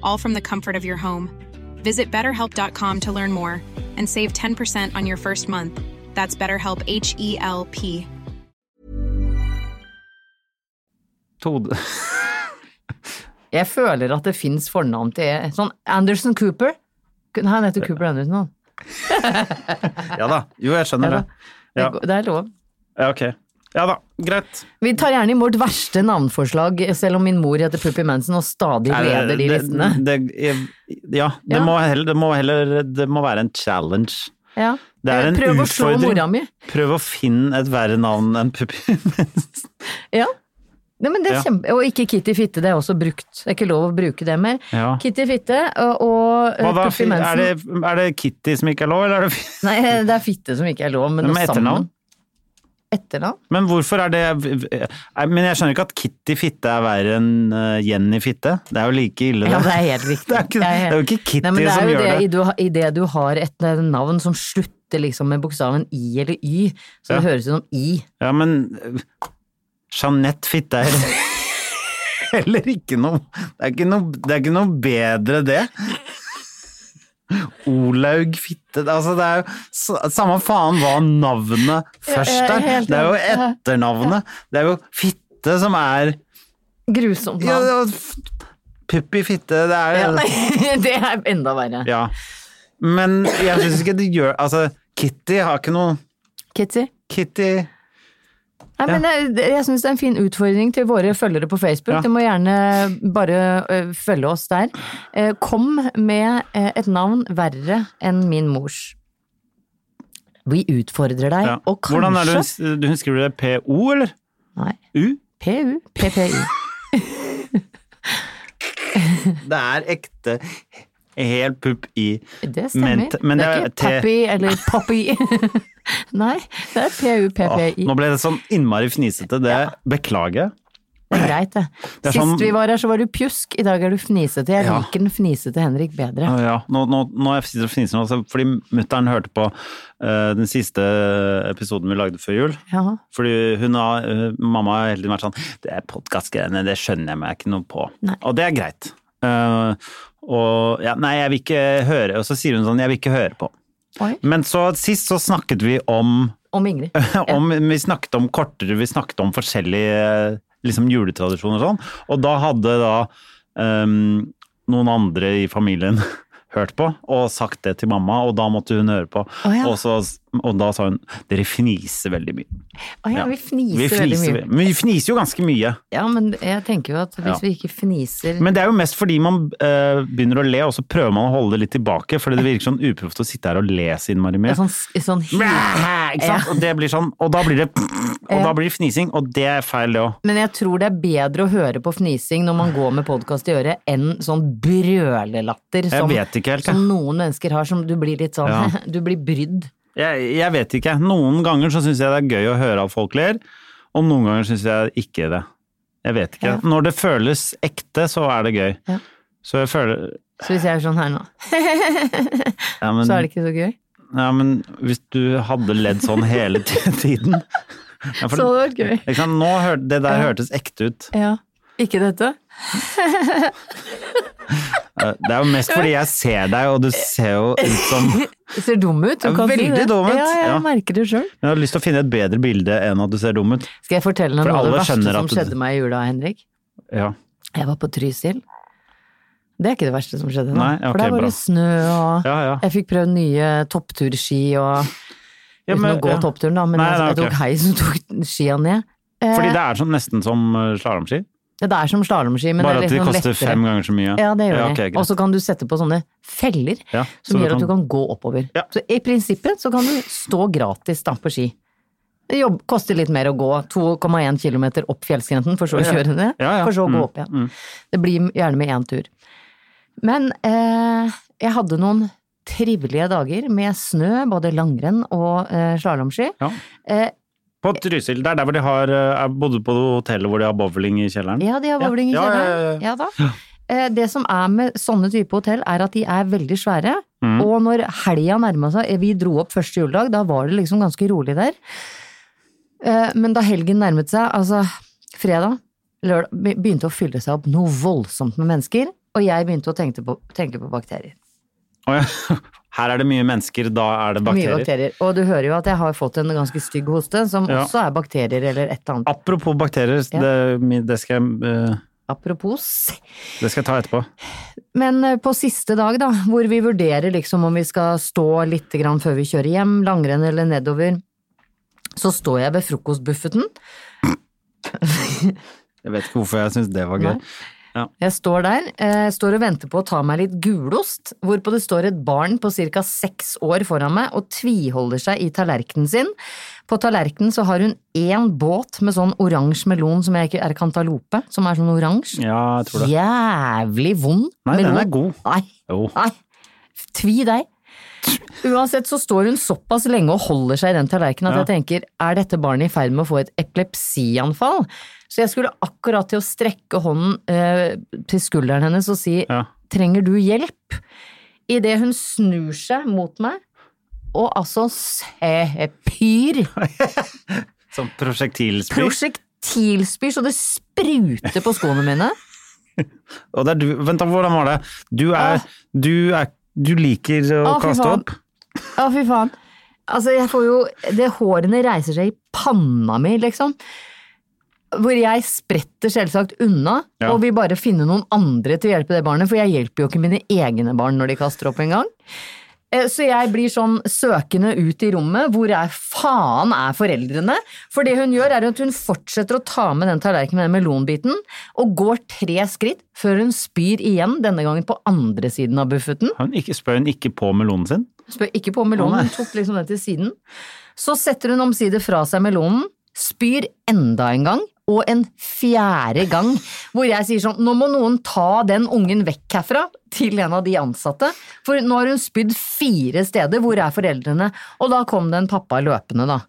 Speaker 4: all from the comfort of your home. Visit betterhelp.com to learn more and save 10% on your first month. That's BetterHelp H E L P.
Speaker 1: Tode
Speaker 2: Jeg føler at det fins fornavn til Sånn Anderson Cooper. Han heter Cooper Anderson, han.
Speaker 1: Ja da. Jo, jeg skjønner
Speaker 2: Ja da.
Speaker 1: det. Ja.
Speaker 2: Det går- Det er lov.
Speaker 1: ja, ok. Ja da, greit.
Speaker 2: Vi tar gjerne imot verste navnforslag, selv om min mor heter Puppi Manson og stadig leder de listene.
Speaker 1: Det, det, ja, det,
Speaker 2: Ja.
Speaker 1: Må heller, det må heller Det må være en challenge.
Speaker 2: Ja. Eh,
Speaker 1: Det er en
Speaker 2: Prøv å slå
Speaker 1: utfordring.
Speaker 2: mora mi.
Speaker 1: Prøv å finne et verre navn enn Puppi.
Speaker 2: Ja. Nei, men det er
Speaker 1: Ja.
Speaker 2: kjempe... Og ikke Kitty Fitte, det er også brukt. Det er ikke lov å bruke det mer.
Speaker 1: Ja.
Speaker 2: Kitty Fitte og, og eh,
Speaker 1: Hva da?
Speaker 2: Puppi Mensen.
Speaker 1: Er det, er det Kitty som ikke er lov, eller er det
Speaker 2: Nei, eh, det er fitte som ikke er lov, men,
Speaker 1: Men
Speaker 2: det
Speaker 1: med
Speaker 2: sammen.
Speaker 1: etternavn?
Speaker 2: Etternavn?
Speaker 1: Men hvorfor er det Nei, Men jeg skjønner ikke at Kitty Fitte er verre enn eh, Jenny Fitte. Det er jo like ille,
Speaker 2: Ja, det er helt
Speaker 1: Det
Speaker 2: riktig.
Speaker 1: er, ikke, det er jo ikke Kitty
Speaker 2: Nei, men det er
Speaker 1: som
Speaker 2: jo
Speaker 1: gjør
Speaker 2: det,
Speaker 1: det.
Speaker 2: i du- I det du har et eh, navn som slutter liksom med bokstaven I eller Y, så det
Speaker 1: Ja.
Speaker 2: høres ut som I.
Speaker 1: Ja, men eh, Jeanette Fitte er heller ikke noe Det er ikke noe, det er ikke noe bedre, det. Olaug Fitte det- Altså, det er jo s- Samme faen hva navnet
Speaker 2: jeg
Speaker 1: først
Speaker 2: er
Speaker 1: er.
Speaker 2: helt
Speaker 1: Det er jo
Speaker 2: enig.
Speaker 1: etternavnet. Det er jo Fitte som er
Speaker 2: Grusomt
Speaker 1: Ja,
Speaker 2: navn.
Speaker 1: det var f- Puppi Fitte, det er
Speaker 2: Ja,
Speaker 1: jo
Speaker 2: nei, det er enda verre.
Speaker 1: Ja. Men jeg syns ikke det gjør Altså, Kitty har ikke noe
Speaker 2: Kitty?
Speaker 1: Kitty
Speaker 2: Nei, men jeg, jeg syns det er en fin utfordring til våre følgere på Facebook.
Speaker 1: Ja.
Speaker 2: Du må gjerne bare ø, følge oss der. Eh, Kom med eh, et navn verre enn min mors. Vi utfordrer deg,
Speaker 1: ja.
Speaker 2: og kanskje
Speaker 1: Hvordan er det hun, s- hun skriver det? PO, eller?
Speaker 2: Nei.
Speaker 1: U?
Speaker 2: PU, PPU.
Speaker 1: Det er ekte hel pupp i
Speaker 2: Det stemmer.
Speaker 1: Men- men
Speaker 2: det
Speaker 1: det
Speaker 2: er
Speaker 1: er
Speaker 2: ikke Pappy eller Poppy. Nei, det er
Speaker 1: Åh,
Speaker 2: PUPPI.
Speaker 1: Nå ble det sånn innmari fnisete. Det beklager jeg.
Speaker 2: Det er greit, det.
Speaker 1: Det er
Speaker 2: Sist
Speaker 1: sånn-
Speaker 2: vi var her, så var du pjusk. I dag er du fnisete. Jeg
Speaker 1: Ja.
Speaker 2: liker den fnisete Henrik bedre.
Speaker 1: Å Ja, nå, nå, nå er jeg sitter og fniser nå, altså, fordi mutter'n hørte på eh, den siste episoden vi lagde før jul.
Speaker 2: Ja.
Speaker 1: Fordi hun har, eh, mamma har hele tiden vært sånn Det er podkastgreiene, det skjønner jeg meg ikke noe på.
Speaker 2: Nei.
Speaker 1: Og det er greit. Eh, og ja, nei, jeg vil ikke høre Og så sier hun sånn, jeg vil ikke høre på.
Speaker 2: Oi.
Speaker 1: Men så sist så snakket vi om
Speaker 2: Om Ingrid.
Speaker 1: om, vi snakket om kortere, vi snakket om forskjellige eh, liksom, juletradisjoner og sånn. Og da hadde da ehm, noen andre i familien hørt på og sagt det til mamma, og da måtte hun høre på.
Speaker 2: Å ja.
Speaker 1: og, så, og da sa hun dere fniser veldig mye.
Speaker 2: Å ja,
Speaker 1: Ja.
Speaker 2: vi fniser,
Speaker 1: Vi fniser,
Speaker 2: veldig mye.
Speaker 1: ve- men vi fniser jo ganske mye.
Speaker 2: Ja, men jeg tenker jo at
Speaker 1: Ja.
Speaker 2: hvis vi ikke fniser
Speaker 1: Men det er jo mest fordi man eh, begynner å le, og så prøver man å holde det litt tilbake, fordi det virker sånn uproft å sitte her og le så innmari mye.
Speaker 2: sånn, sånn hy-
Speaker 1: Ikke sant? Og det blir sånn, og da blir det Og da blir det fnising, og det er feil, det òg.
Speaker 2: Men jeg tror det er bedre å høre på fnising når man går med podkast i øret, enn sånn brølelatter
Speaker 1: Jeg
Speaker 2: som,
Speaker 1: vet ikke helt, jeg.
Speaker 2: som noen mennesker har, som du blir litt sånn
Speaker 1: Ja.
Speaker 2: Du blir brydd.
Speaker 1: Jeg, jeg vet ikke. Noen ganger så syns jeg det er gøy å høre at folk ler, og noen ganger syns jeg ikke det. Jeg vet ikke.
Speaker 2: Ja.
Speaker 1: Når det føles ekte, så er det gøy.
Speaker 2: Ja.
Speaker 1: Så jeg føler
Speaker 2: Så hvis jeg er sånn her nå,
Speaker 1: ja men,
Speaker 2: så er det ikke så gøy.
Speaker 1: ja, men hvis du hadde ledd sånn hele tiden ja, for-
Speaker 2: Så hadde det vært gøy.
Speaker 1: Ikke sant? Nå hør, det der hørtes ekte ut.
Speaker 2: Ja. Ikke dette?
Speaker 1: Eh, Det er jo mest fordi jeg ser deg, og du ser jo ut som Jeg
Speaker 2: Det ser dum ut.
Speaker 1: Ja,
Speaker 2: Du kan si
Speaker 1: veldig
Speaker 2: det.
Speaker 1: dum ut.
Speaker 2: Ja, jeg
Speaker 1: Ja.
Speaker 2: merker det sjøl.
Speaker 1: har lyst til å finne et bedre bilde enn at du ser dum ut.
Speaker 2: Skal jeg fortelle deg
Speaker 1: For
Speaker 2: noe av
Speaker 1: alle
Speaker 2: det verste
Speaker 1: skjønner
Speaker 2: som
Speaker 1: at du-
Speaker 2: skjedde meg i jula, Henrik?
Speaker 1: Ja.
Speaker 2: Jeg var på Trysil. Det er ikke det verste som skjedde nå.
Speaker 1: Nei, ja, ok,
Speaker 2: For der var
Speaker 1: bra.
Speaker 2: det snø, og
Speaker 1: Ja, ja.
Speaker 2: jeg fikk prøvd nye toppturski og
Speaker 1: Ja,
Speaker 2: Uten
Speaker 1: men-
Speaker 2: å gå
Speaker 1: ja.
Speaker 2: toppturen, da, men
Speaker 1: Nei,
Speaker 2: jeg,
Speaker 1: nei,
Speaker 2: jeg tok
Speaker 1: ok.
Speaker 2: heisen og tok skia ned.
Speaker 1: Fordi det er sånn, nesten som eh, slalåmski.
Speaker 2: Det er som slalåmski, men
Speaker 1: Bare at
Speaker 2: det er
Speaker 1: de
Speaker 2: litt sånn
Speaker 1: koster
Speaker 2: lettere.
Speaker 1: fem ganger så mye.
Speaker 2: Ja, det gjør
Speaker 1: ja,
Speaker 2: de.
Speaker 1: ok, greit.
Speaker 2: og så kan du sette på sånne feller
Speaker 1: Ja,
Speaker 2: som
Speaker 1: så du
Speaker 2: gjør at
Speaker 1: kan-
Speaker 2: du kan gå oppover.
Speaker 1: Ja.
Speaker 2: Så i prinsippet så kan du stå gratis da på ski. Det jobb, koster litt mer å gå 2,1 km opp fjellskrenten, for så å kjøre ned,
Speaker 1: Ja, ja.
Speaker 2: for så å gå
Speaker 1: Mm,
Speaker 2: opp igjen. Det blir gjerne med én tur. Men eh, jeg hadde noen trivelige dager med snø, både langrenn og eh, slalåmski.
Speaker 1: Ja.
Speaker 2: Eh,
Speaker 1: På Trysil, det er der hvor de har eh, Jeg bodde på hotellet hvor de har bowling i kjelleren.
Speaker 2: Ja, de har bowling i
Speaker 1: Ja, ja, ja,
Speaker 2: kjelleren. Ja, da. Eh, Det som er med sånne type hotell, er at de er veldig svære.
Speaker 1: Mm.
Speaker 2: Og når helga nærma seg, eh, vi dro opp første juledag, da var det liksom ganske rolig der. Eh, Men da helgen nærmet seg, altså fredag, lørdag, be- begynte å fylle seg opp noe voldsomt med mennesker. Og jeg begynte å tenke på, tenke på bakterier.
Speaker 1: Å, ja. Her er det mye mennesker, da er det bakterier.
Speaker 2: Mye bakterier. Og du hører jo at jeg har fått en ganske stygg hoste, som
Speaker 1: Ja.
Speaker 2: også er bakterier eller et eller annet.
Speaker 1: Apropos bakterier,
Speaker 2: Ja.
Speaker 1: det, det, skal, jeg, eh,
Speaker 2: Apropos
Speaker 1: det skal jeg ta etterpå.
Speaker 2: Men eh, på siste dag, da, hvor vi vurderer liksom om vi skal stå litt grann før vi kjører hjem, langrenn eller nedover, så står jeg ved frokostbuffeten.
Speaker 1: Jeg vet ikke hvorfor jeg syns det var gøy.
Speaker 2: Nei. Jeg står der, eh, står og venter på å ta meg litt gulost, hvorpå det står et barn på ca. seks år foran meg og tviholder seg i tallerkenen sin. På tallerkenen så har hun én båt med sånn oransje melon som jeg ikke er kantalope, som er sånn oransje.
Speaker 1: Ja, jeg tror det.
Speaker 2: Jævlig vond
Speaker 1: Nei,
Speaker 2: melon.
Speaker 1: den er god.
Speaker 2: Nei.
Speaker 1: Jo.
Speaker 2: Nei, tvi deg. Uansett så står hun såpass lenge og holder seg i den tallerkenen at
Speaker 1: Ja.
Speaker 2: jeg tenker, er dette barnet i ferd med å få et epilepsianfall? Så jeg skulle akkurat til å strekke hånden eh, til skulderen hennes og si,
Speaker 1: Ja.
Speaker 2: trenger du hjelp? Idet hun snur seg mot meg, og altså se pyr,
Speaker 1: Sånn prosjektilspy.
Speaker 2: prosjektilspyr, så det spruter på skoene mine.
Speaker 1: Og det er du Vent, da, hvordan var det? Du er Du, er, du liker å
Speaker 2: Å, fy
Speaker 1: kaste
Speaker 2: faen.
Speaker 1: opp?
Speaker 2: Å, fy faen. Altså, jeg får jo det Hårene reiser seg i panna mi, liksom. Hvor jeg spretter selvsagt unna,
Speaker 1: Ja.
Speaker 2: og vil bare finne noen andre til å hjelpe det barnet, for jeg hjelper jo ikke mine egne barn når de kaster opp engang. Eh, Så jeg blir sånn søkende ut i rommet, hvor er faen er foreldrene? For det hun gjør er at hun fortsetter å ta med den tallerkenen med den melonbiten, og går tre skritt før hun spyr igjen, denne gangen på andre siden av buffeten.
Speaker 1: Hun ikke, spør hun ikke på melonen sin?
Speaker 2: Spør ikke på melonen, hun tok liksom den til siden. Så setter hun omsider fra seg melonen, spyr enda en gang, og en fjerde gang, hvor jeg sier sånn, nå må noen ta den ungen vekk herfra, til en av de ansatte, for nå har hun spydd fire steder, hvor er foreldrene? Og da kom det en pappa løpende da,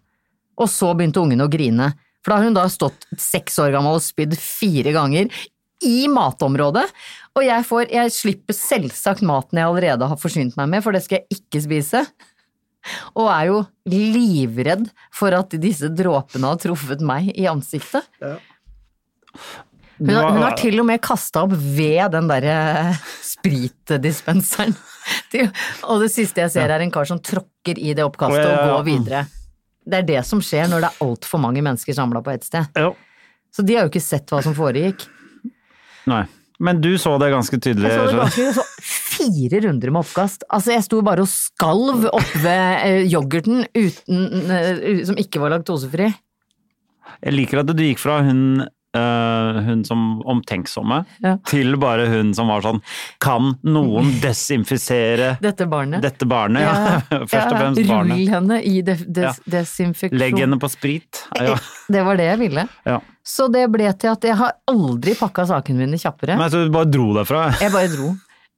Speaker 2: og så begynte ungen å grine, for da har hun da stått seks år gammel og spydd fire ganger, i matområdet. Og jeg, får, jeg slipper selvsagt maten jeg allerede har forsynt meg med, for det skal jeg ikke spise. Og er jo livredd for at disse dråpene har truffet meg i ansiktet. Hun har, hun har til og med kasta opp ved den derre spritdispenseren. Til- Og det siste jeg ser, er en kar som tråkker i det oppkastet
Speaker 1: Å, ja, ja,
Speaker 2: og
Speaker 1: ja.
Speaker 2: går videre. Det er det som skjer når det er altfor mange mennesker samla på ett sted.
Speaker 1: Jo.
Speaker 2: Så de har jo ikke sett hva som foregikk.
Speaker 1: Nei. Men du så det ganske tydelig?
Speaker 2: Jeg så det
Speaker 1: skjønner
Speaker 2: ganske så fire runder med oppkast. Altså, jeg sto bare og skalv oppe ved eh, yoghurten uten, eh, som ikke var laktosefri.
Speaker 1: Jeg liker at du gikk fra hun, eh, hun som omtenksomme,
Speaker 2: Ja.
Speaker 1: til bare hun som var sånn Kan noen desinfisere
Speaker 2: Dette barnet.
Speaker 1: dette barnet? Ja. Først og
Speaker 2: Ja,
Speaker 1: fremst barnet.
Speaker 2: Rull henne i de, des,
Speaker 1: Ja.
Speaker 2: desinfeksjon.
Speaker 1: Legg henne på sprit. Ja.
Speaker 2: Det var det jeg ville.
Speaker 1: Ja.
Speaker 2: Så det ble til at jeg har aldri pakka sakene mine kjappere.
Speaker 1: Nei, så du bare dro derfra?
Speaker 2: Jeg bare dro.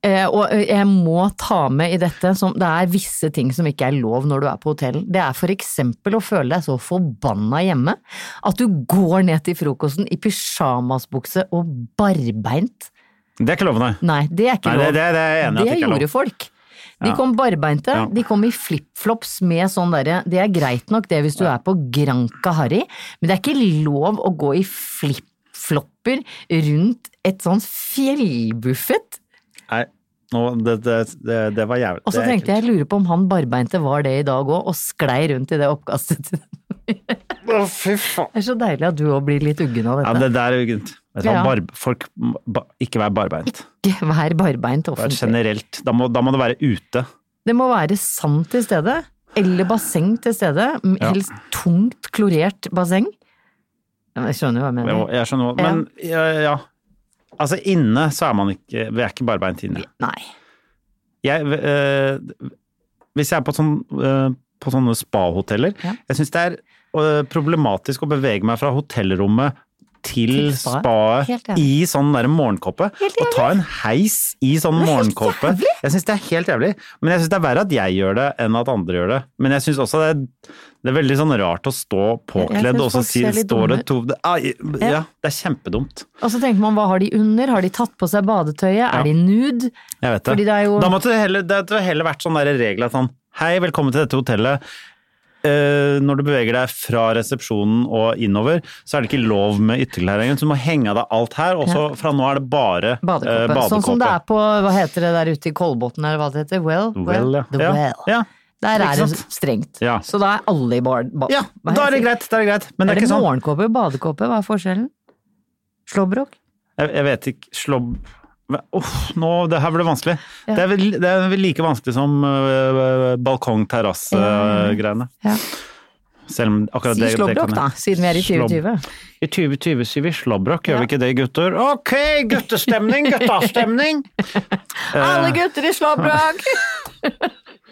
Speaker 2: Eh, og eh, jeg må ta med i dette som det er visse ting som ikke er lov når du er på hotell. Det er for eksempel å føle deg så forbanna hjemme at du går ned til frokosten i pysjamasbukse og barbeint.
Speaker 1: Det er ikke lov, nei.
Speaker 2: Nei, det er ikke
Speaker 1: Nei,
Speaker 2: lov.
Speaker 1: det, det, det er jeg enig i at
Speaker 2: Det
Speaker 1: det ikke er
Speaker 2: gjorde
Speaker 1: lov.
Speaker 2: folk. De
Speaker 1: Ja.
Speaker 2: kom barbeinte,
Speaker 1: Ja.
Speaker 2: de kom i flipflops med sånn derre Det er greit nok det hvis du er på Granca Harry, men det er ikke lov å gå i flipflopper rundt et sånn sånt fjellbuffet.
Speaker 1: Nei, nå, det, det, det, det var jævlig.
Speaker 2: Og så
Speaker 1: det er
Speaker 2: tenkte jeg, jeg lurer på om han barbeinte var det i dag òg, og sklei rundt i det oppkastet. Det
Speaker 1: ekkelt. Å, fy faen.
Speaker 2: er så deilig at du òg blir litt uggen av
Speaker 1: Ja,
Speaker 2: dette.
Speaker 1: det der er uggent. Vet du hva,
Speaker 2: Ja.
Speaker 1: barb- folk ba, Ikke vær barbeint.
Speaker 2: Ikke vær barbeint
Speaker 1: Det er
Speaker 2: offentlig.
Speaker 1: generelt. Da må, da må det være ute.
Speaker 2: Det må være sand til stede, eller basseng til stede. m-
Speaker 1: Ja.
Speaker 2: Helst tungt klorert basseng. Ja, Jeg skjønner jo hva jeg
Speaker 1: Jo,
Speaker 2: mener.
Speaker 1: jeg skjønner hva Men ja, ja. Altså, inne så er man ikke Vi er ikke barbeint inne.
Speaker 2: Nei.
Speaker 1: Jeg eh, Hvis jeg er på, sånn, eh, på sånne spahoteller
Speaker 2: Ja.
Speaker 1: Jeg syns det er eh, problematisk å bevege meg fra hotellrommet til
Speaker 2: Til spaet.
Speaker 1: spaet
Speaker 2: Helt enig.
Speaker 1: i sånn der morgenkåpe. Og ta en heis i sånn
Speaker 2: Det er helt
Speaker 1: morgenkåpe.
Speaker 2: jævlig.
Speaker 1: Jeg syns det er helt jævlig. Men jeg syns det er verre at jeg gjør det enn at andre gjør det. Men jeg syns også det er, det er veldig sånn rart å stå
Speaker 2: synes
Speaker 1: påkledd og så
Speaker 2: folk
Speaker 1: si,
Speaker 2: ser litt
Speaker 1: står det
Speaker 2: dumme
Speaker 1: to Ai,
Speaker 2: Ja.
Speaker 1: ja, det er kjempedumt.
Speaker 2: Og så tenker man hva har de under, har de tatt på seg badetøyet, er de nude?
Speaker 1: Jeg vet det.
Speaker 2: Fordi det er jo-
Speaker 1: Da måtte det heller, det hadde heller vært sånn der regel at sånn Hei, velkommen til dette hotellet. Eh, når du beveger deg fra resepsjonen og innover, så er det ikke lov med ytterklær lenger. Så du må henge av deg alt her, og så fra nå er det bare eh,
Speaker 2: Badekåpe. Sånn som det er på, hva heter det der ute i Kolbotn, eller hva det heter? Well?
Speaker 1: Well, ja.
Speaker 2: The
Speaker 1: Ja,
Speaker 2: well.
Speaker 1: ja.
Speaker 2: Der
Speaker 1: Ikke
Speaker 2: er det
Speaker 1: sant?
Speaker 2: strengt.
Speaker 1: Ja.
Speaker 2: Så da er alle i bar... ba-
Speaker 1: Ja,
Speaker 2: hva
Speaker 1: da er det
Speaker 2: heter
Speaker 1: greit. Da er det greit. Men det
Speaker 2: Er
Speaker 1: er
Speaker 2: det
Speaker 1: ikke sånn.
Speaker 2: morgenkåpe, badekåpe, hva er forskjellen? Slåbrok?
Speaker 1: sånn, Jeg, jeg vet ikke. Slobb... Uff, nå, det her ble vanskelig. Det, er vel, det er vel like vanskelig som øh, balkong-terrasse-greiene.
Speaker 2: Ja.
Speaker 1: Selv om akkurat
Speaker 2: Si
Speaker 1: det, det
Speaker 2: slåbrok,
Speaker 1: kan jeg-
Speaker 2: da, siden vi er i
Speaker 1: Slobb-
Speaker 2: 2020.
Speaker 1: I 2020 sier vi slåbrok, gjør vi ikke det, gutter? Ok, guttestemning, guttastemning!
Speaker 2: Alle gutter i slåbrok!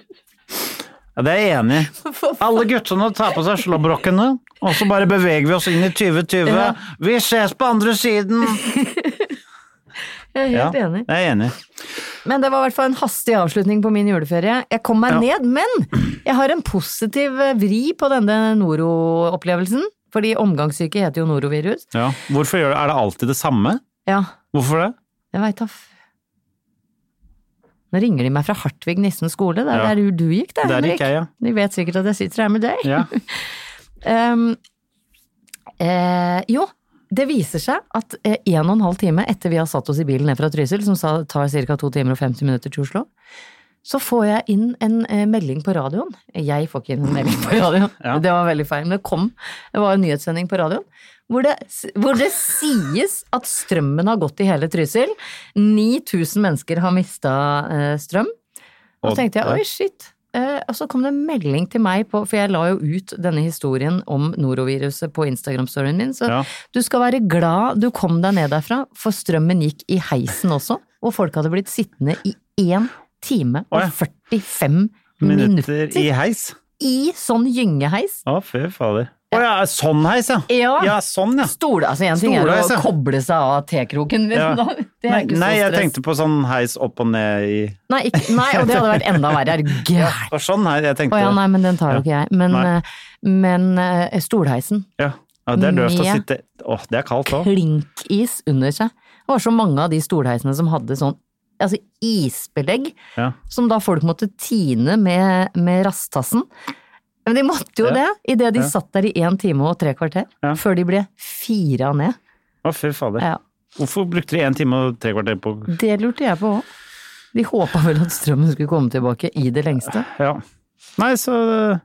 Speaker 1: Ja, det er jeg enig i. Alle guttene tar på seg slåbrokene, og så bare beveger vi oss inn i 2020.
Speaker 2: Ja.
Speaker 1: Vi ses på andre siden!
Speaker 2: Jeg er
Speaker 1: Ja,
Speaker 2: helt
Speaker 1: jeg
Speaker 2: enig.
Speaker 1: er enig.
Speaker 2: Men det var i hvert fall en hastig avslutning på min juleferie. Jeg kom meg ned, men jeg har en positiv eh, vri på denne noro-opplevelsen. Fordi omgangssyke heter jo norovirus.
Speaker 1: Ja. Hvorfor gjør det? er det alltid det samme?
Speaker 2: Ja,
Speaker 1: Hvorfor det?
Speaker 2: jeg veit da f... Nå ringer de meg fra Hartvig Nissen skole, der,
Speaker 1: Ja.
Speaker 2: der du gikk der,
Speaker 1: Der
Speaker 2: Henrik.
Speaker 1: gikk jeg, ja.
Speaker 2: De vet sikkert at jeg sitter her med deg.
Speaker 1: Ja.
Speaker 2: Ehm, eh, jo, det viser seg at eh, en og en halv time etter vi har satt oss i bilen ned fra Trysil, som sa, tar ca. 2 timer og 50 minutter til Oslo, så får jeg inn en eh, melding på radioen. Jeg får ikke inn en melding på radioen,
Speaker 1: Ja.
Speaker 2: det var veldig feil, men det kom. Det var en nyhetssending på radioen. Hvor det, hvor det sies at strømmen har gått i hele Trysil. 9000 mennesker har mista eh, strøm. Og
Speaker 1: Og-
Speaker 2: så tenkte jeg,
Speaker 1: ja.
Speaker 2: oi shit. Eh, og så kom det en melding til meg på, for jeg la jo ut denne historien om noroviruset på Instagram-storyen min. Så
Speaker 1: Ja.
Speaker 2: du skal være glad du kom deg ned derfra, for strømmen gikk i heisen også. Og folk hadde blitt sittende i én time
Speaker 1: Å, ja.
Speaker 2: og 45 minutter,
Speaker 1: Minutter i heis.
Speaker 2: i sånn gyngeheis.
Speaker 1: Å, fy fader. Å ja, sånn heis, ja.
Speaker 2: Ja.
Speaker 1: Ja, sånn, ja.
Speaker 2: Stole, altså en ting
Speaker 1: Stole,
Speaker 2: er
Speaker 1: altså.
Speaker 2: å koble seg av tekroken, men
Speaker 1: Ja.
Speaker 2: da, det er
Speaker 1: Nei,
Speaker 2: ikke så
Speaker 1: nei, jeg
Speaker 2: stress.
Speaker 1: tenkte på sånn heis opp og ned i
Speaker 2: Nei, ikke, nei, og det hadde vært enda verre. Er du gæren?
Speaker 1: Og sånn her, jeg tenkte
Speaker 2: Å ja, nei, men den tar jo ikke jeg. Men,
Speaker 1: Nei.
Speaker 2: eh, men eh, stolheisen.
Speaker 1: Ja. Ja, det er døvt å
Speaker 2: Med-
Speaker 1: sitte Å, det er kaldt òg.
Speaker 2: Klinkis under seg. Det var så mange av de stolheisene som hadde sånn altså isbelegg,
Speaker 1: Ja.
Speaker 2: som da folk måtte tine med, med rasttassen. Men de måtte jo
Speaker 1: Ja.
Speaker 2: det, idet de
Speaker 1: Ja.
Speaker 2: satt der i én time og tre kvarter,
Speaker 1: Ja.
Speaker 2: før de ble fira ned.
Speaker 1: Å, fy fader.
Speaker 2: Ja,
Speaker 1: Hvorfor brukte de én time og tre kvarter på
Speaker 2: det lurte jeg på òg. De håpa vel at strømmen skulle komme tilbake i det lengste.
Speaker 1: Ja. Nei, så,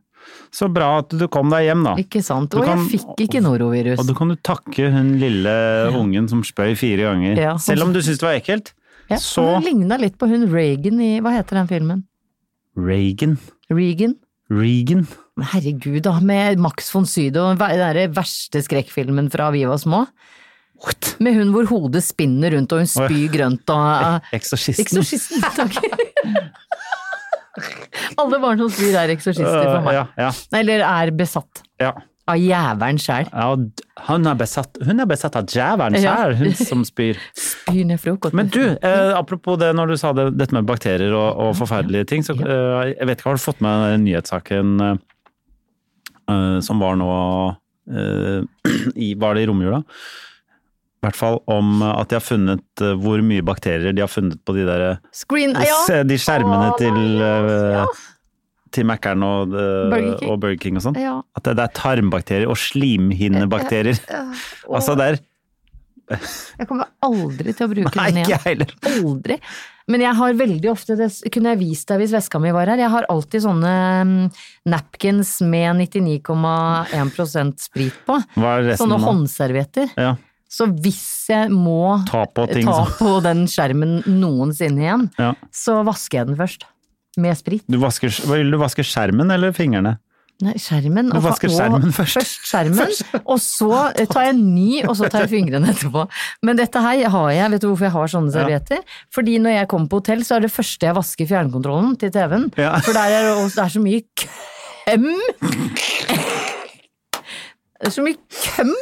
Speaker 1: så bra at du kom deg hjem, da.
Speaker 2: Ikke sant?
Speaker 1: Du
Speaker 2: Og jeg
Speaker 1: kan-
Speaker 2: fikk ikke norovirus.
Speaker 1: Og da kan du takke hun lille ungen som spøy fire ganger.
Speaker 2: Ja.
Speaker 1: Selv om du syns det var ekkelt.
Speaker 2: Ja,
Speaker 1: så-
Speaker 2: Hun ligna litt på hun Reagan i Hva heter den filmen?
Speaker 1: Reagan.
Speaker 2: Reagan?
Speaker 1: Reagan.
Speaker 2: Men Herregud, da, med Max von Sydow, den der verste skrekkfilmen fra vi var små. Med hun hvor hodet spinner rundt og hun spyr grønt og ah,
Speaker 1: Eksorsisten.
Speaker 2: Eksorsisten, takk. Alle barn som spyr er eksorsister for
Speaker 1: Øh,
Speaker 2: meg.
Speaker 1: ja, ja,
Speaker 2: Eller er besatt
Speaker 1: ja.
Speaker 2: av jævelen sjæl.
Speaker 1: ja og d- hun, er besatt, hun er besatt av djevelen
Speaker 2: Ja.
Speaker 1: sjæl, hun som spyr.
Speaker 2: Spyr ned frokost.
Speaker 1: Men du, eh, apropos det når du sa det, dette med bakterier og, og forferdelige ting, så eh, jeg vet ikke, har du fått med den nyhetssaken eh, som var nå eh, i, Var det i romjula? I hvert fall om eh, at de har funnet eh, hvor mye bakterier de har funnet på de der eh,
Speaker 2: Screen Ja!
Speaker 1: se- de skjermene
Speaker 2: Å,
Speaker 1: til,
Speaker 2: nei,
Speaker 1: eh,
Speaker 2: ja.
Speaker 1: til Mækkern og, eh,
Speaker 2: Burger King.
Speaker 1: og Burger King og sånn.
Speaker 2: Ja. Eh,
Speaker 1: At det, det er tarmbakterier og slimhinnebakterier. Altså det er
Speaker 2: Jeg kommer aldri til å bruke
Speaker 1: Nei,
Speaker 2: den
Speaker 1: ikke jeg
Speaker 2: igjen.
Speaker 1: heller.
Speaker 2: Aldri. Men jeg har veldig ofte, det kunne jeg vist deg hvis veska mi var her, jeg har alltid sånne mm, napkins med 99,1 sprit på.
Speaker 1: Hva er resten
Speaker 2: Sånne
Speaker 1: av-
Speaker 2: håndservietter.
Speaker 1: Ja.
Speaker 2: Så hvis jeg må
Speaker 1: Ta på ting
Speaker 2: ta
Speaker 1: som-
Speaker 2: på den skjermen noensinne igjen,
Speaker 1: Ja.
Speaker 2: så vasker jeg den først. Med sprit.
Speaker 1: Du vasker, vil du vaske skjermen eller fingrene?
Speaker 2: Nei, skjermen.
Speaker 1: Du
Speaker 2: og fa-
Speaker 1: vasker
Speaker 2: og-
Speaker 1: skjermen først.
Speaker 2: Først skjermen, og så eh, tar jeg en ny, og så tar jeg fingrene etterpå. Men dette her har jeg, vet du hvorfor jeg har sånne servietter? Fordi når jeg kommer på hotell, så er det første jeg vasker fjernkontrollen til TV-en.
Speaker 1: Ja.
Speaker 2: For der er det også- det er så mye køm. Det er så mye køm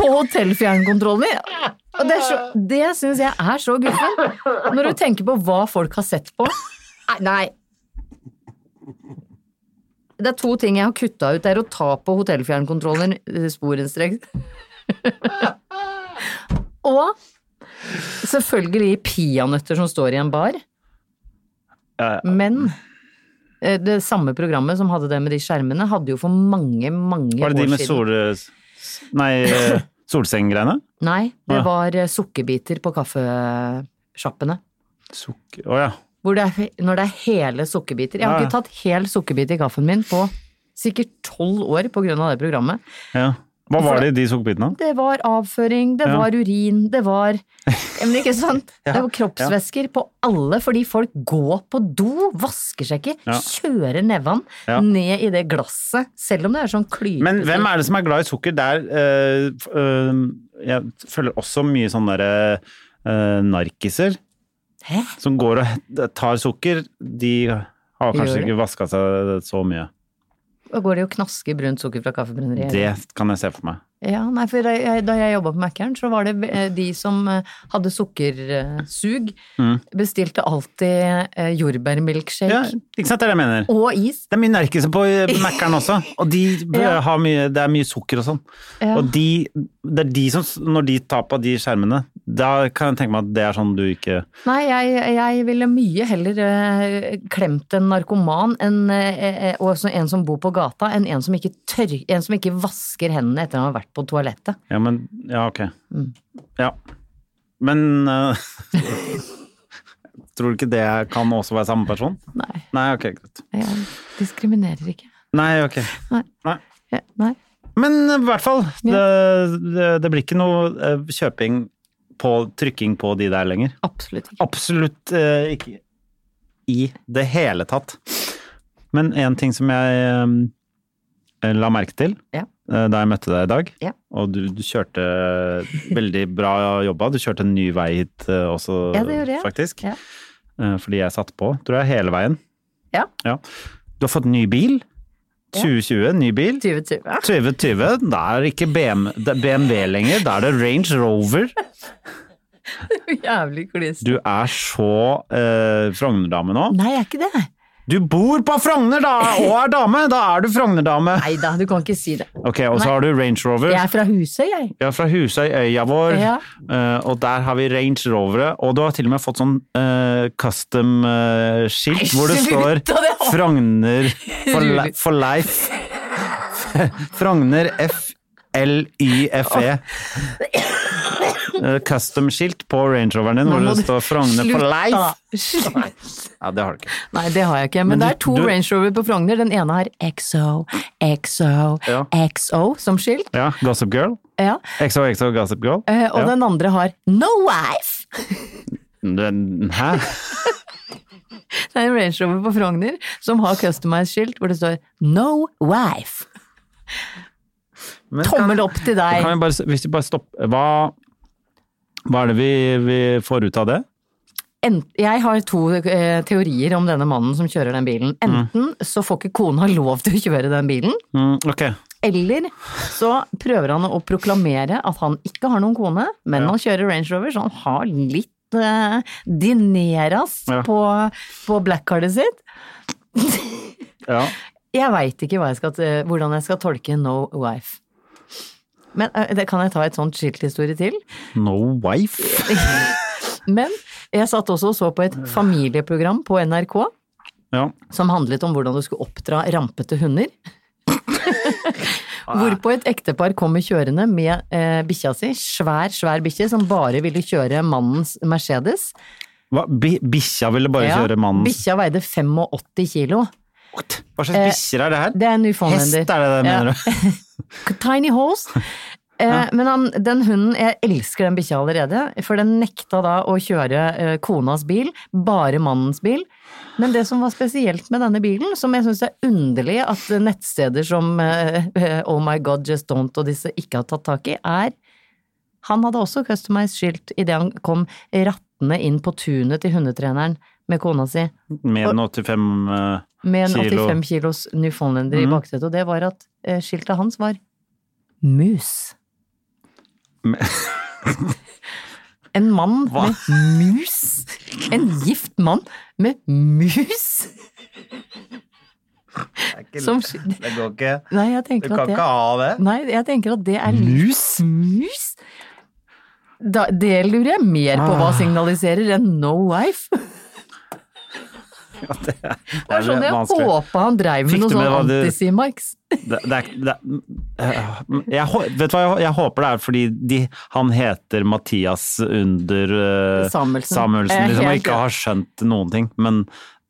Speaker 2: på hotellfjernkontrollen i. Og det, er så- det syns jeg er så guffen. Når du tenker på hva folk har sett på. Nei, nei. Det er to ting jeg har kutta ut. Det er å ta på hotellfjernkontrollen eh, sporenstreks. Og selvfølgelig peanøtter som står i en bar.
Speaker 1: Ja,
Speaker 2: Men eh, det samme programmet som hadde det med de skjermene, hadde jo for mange, mange
Speaker 1: Var det de
Speaker 2: år
Speaker 1: med
Speaker 2: siden
Speaker 1: sol... Nei, eh, solsenggreiene?
Speaker 2: Nei, det
Speaker 1: Ja.
Speaker 2: var eh, sukkerbiter på kaffesjappene.
Speaker 1: Sukker Å ja.
Speaker 2: Hvor det er, he- når det er hele sukkerbiter. Jeg har
Speaker 1: Ja, ja.
Speaker 2: ikke tatt hel sukkerbit i kaffen min på sikkert tolv år på grunn av det programmet.
Speaker 1: ja. Hva var det i de sukkerbitene?
Speaker 2: Det var avføring, det
Speaker 1: Ja.
Speaker 2: var urin, det var Ja, Men ikke sant? Det var kroppsvæsker på alle, fordi folk går på do, vasker seg ikke,
Speaker 1: Ja.
Speaker 2: kjører neven
Speaker 1: Ja.
Speaker 2: ned i det glasset, selv om det er sånn klype.
Speaker 1: Men hvem er det som er glad i sukker? Der eh, f- eh, Jeg følger også mye sånne der, eh, narkiser
Speaker 2: Hæ?
Speaker 1: som går og he- tar sukker. De har
Speaker 2: Gjør
Speaker 1: kanskje
Speaker 2: det?
Speaker 1: ikke vaska seg så mye.
Speaker 2: Da går det jo knaske brunt sukker fra kaffebrenneriet.
Speaker 1: Det kan jeg se for meg.
Speaker 2: Ja, nei, for jeg, Da jeg jobba på Mækkern, så var det eh, de som eh, hadde sukkersug, bestilte alltid eh, jordbærmilkshake
Speaker 1: Mm. Ja, ikke sant det er det jeg mener?
Speaker 2: og is.
Speaker 1: Det er mye narkiser på eh, Mækkern også, og de b-
Speaker 2: Ja.
Speaker 1: har mye, det er mye sukker og sånn.
Speaker 2: Ja.
Speaker 1: Og de, det er de som, s- når de tar på de skjermene, da kan jeg tenke meg at det er sånn du ikke
Speaker 2: Nei, jeg, jeg ville mye heller eh, klemt en narkoman enn, eh, eh, og også en som bor på gata, enn en som ikke, tør, en som ikke vasker hendene etter han har vært på toalettet.
Speaker 1: Ja, men Ja, ok.
Speaker 2: Mm.
Speaker 1: Ja. Men eh, Tror du ikke det kan også være samme person?
Speaker 2: Nei,
Speaker 1: Nei, ok, greit.
Speaker 2: jeg diskriminerer ikke.
Speaker 1: Nei, ok.
Speaker 2: Nei.
Speaker 1: Nei.
Speaker 2: Ja, nei.
Speaker 1: Men eh, i hvert fall, det, det, det blir ikke noe eh, kjøping på trykking på de der lenger.
Speaker 2: Absolutt ikke.
Speaker 1: Absolutt eh, ikke i det hele tatt. Men en ting som jeg eh, la merke til
Speaker 2: Ja.
Speaker 1: eh, da jeg møtte deg i dag,
Speaker 2: Ja.
Speaker 1: og du, du kjørte veldig bra jobba, du kjørte en ny vei hit eh, også,
Speaker 2: Ja, det gjorde jeg.
Speaker 1: faktisk.
Speaker 2: Ja.
Speaker 1: Eh, Fordi jeg satte på, tror jeg, hele veien.
Speaker 2: Ja.
Speaker 1: Du har fått ny bil. 2020, ny bil.
Speaker 2: 2020. Ja.
Speaker 1: 2020, da er det ikke BM, det er BMW lenger, da er det Range Rover.
Speaker 2: Jævlig kliss.
Speaker 1: Du er så eh, Frogner-dame nå.
Speaker 2: Nei, jeg er ikke det.
Speaker 1: Du bor på Frogner da, og er dame! Da er du Frogner-dame.
Speaker 2: Nei da, du kan ikke si det.
Speaker 1: Ok, og så har du Range Rover.
Speaker 2: Jeg er fra Husøy, jeg.
Speaker 1: Ja, fra Husøy, øya vår.
Speaker 2: Ja.
Speaker 1: Eh, og der har vi Range Rovere. Og du har til og med fått sånn eh, custom-skilt
Speaker 2: Nei,
Speaker 1: hvor det står
Speaker 2: slutt, og det har-
Speaker 1: Frogner for, li for life. Frogner F-L-Y-F-E. E. Eh, Custom-skilt på Range Roveren din
Speaker 2: Nå
Speaker 1: hvor
Speaker 2: må
Speaker 1: det
Speaker 2: du-
Speaker 1: står Frogner for
Speaker 2: Slutt,
Speaker 1: life.
Speaker 2: da. Slutt.
Speaker 1: Ja, det har du ikke.
Speaker 2: Nei, det har jeg ikke. Men,
Speaker 1: Men
Speaker 2: det er
Speaker 1: du-
Speaker 2: to
Speaker 1: du-
Speaker 2: Range Rover på Frogner. Den ene har XO, XO,
Speaker 1: Ja.
Speaker 2: XO som skilt.
Speaker 1: Ja, Gossip Girl.
Speaker 2: Ja.
Speaker 1: XOXO Gossip Girl.
Speaker 2: Eh, Og
Speaker 1: Ja.
Speaker 2: den andre har No Wife!
Speaker 1: Den- Hæ?
Speaker 2: Det er en Range Rover på Frogner som har customized skilt hvor det står No Wife.
Speaker 1: Men
Speaker 2: Tommel opp til
Speaker 1: kan, kan
Speaker 2: deg.
Speaker 1: vi bare, hvis vi bare stopper Hva, hva er det vi, vi får ut av det?
Speaker 2: Ent- Jeg har to eh, teorier om denne mannen som kjører den bilen. Enten så får ikke kona lov til å kjøre den bilen,
Speaker 1: Mm, ok.
Speaker 2: Eller så prøver han å proklamere at han ikke har noen kone, men han kjører Range Rover, så han har litt eh, dineras
Speaker 1: Ja.
Speaker 2: på, på blackcardet sitt.
Speaker 1: Ja.
Speaker 2: Jeg veit ikke hva jeg skal, t- hvordan jeg skal tolke No Wife. Men eh, det kan jeg ta et sånt skilthistorie til.
Speaker 1: No wife.
Speaker 2: Men jeg satt også og så på et familieprogram på NRK
Speaker 1: Ja.
Speaker 2: som handlet om hvordan du skulle oppdra rampete hunder.
Speaker 1: Ah.
Speaker 2: Hvorpå et ektepar kommer kjørende med eh, bikkja si, svær, svær bikkje, som bare ville kjøre mannens Mercedes.
Speaker 1: Hva, bi, bikkja ville bare
Speaker 2: Ja,
Speaker 1: kjøre mannens
Speaker 2: Bikkja veide 85 kilo.
Speaker 1: What? Hva slags bikkjer er det her?
Speaker 2: Det er en
Speaker 1: Hest
Speaker 2: newfoundlander.
Speaker 1: er det det, mener
Speaker 2: Ja.
Speaker 1: du?
Speaker 2: Tiny horse. Eh, Men han, den hunden, jeg elsker den bikkja allerede, for den nekta da å kjøre eh, konas bil, bare mannens bil. Men det som var spesielt med denne bilen, som jeg syns er underlig at nettsteder som eh, eh, Oh My God, Just Don't og disse ikke har tatt tak i, er Han hadde også customized skilt idet han kom rattende inn på tunet til hundetreneren med kona si
Speaker 1: Med en 85 eh,
Speaker 2: med en
Speaker 1: kilo.
Speaker 2: 85 kilos newfoundlender i
Speaker 1: Mhm.
Speaker 2: baksetet, og det var at eh, skiltet hans var mus. En mann
Speaker 1: Hva?
Speaker 2: med mus. En gift mann med mus. Som sk-
Speaker 1: Det går ikke.
Speaker 2: Nei, jeg tenker at det
Speaker 1: ha det.
Speaker 2: Nei, jeg tenker at det er Mus? Mus? Da, det lurer jeg mer på hva
Speaker 1: Ah.
Speaker 2: signaliserer enn no wife.
Speaker 1: Ja, det, er-
Speaker 2: Det er sånn jeg
Speaker 1: vanskelig.
Speaker 2: håpa han dreiv
Speaker 1: Fikk
Speaker 2: med noe
Speaker 1: du med
Speaker 2: sånn
Speaker 1: hva du-
Speaker 2: antisimarks.
Speaker 1: det, det er, det, er- jeg, hå- vet du hva, jeg, jeg håper det er fordi de, han heter Mathias under eh,
Speaker 2: Samuelsen.
Speaker 1: Samuelsen
Speaker 2: Eh,
Speaker 1: liksom, og
Speaker 2: helt,
Speaker 1: ikke
Speaker 2: ja.
Speaker 1: har skjønt noen ting. Men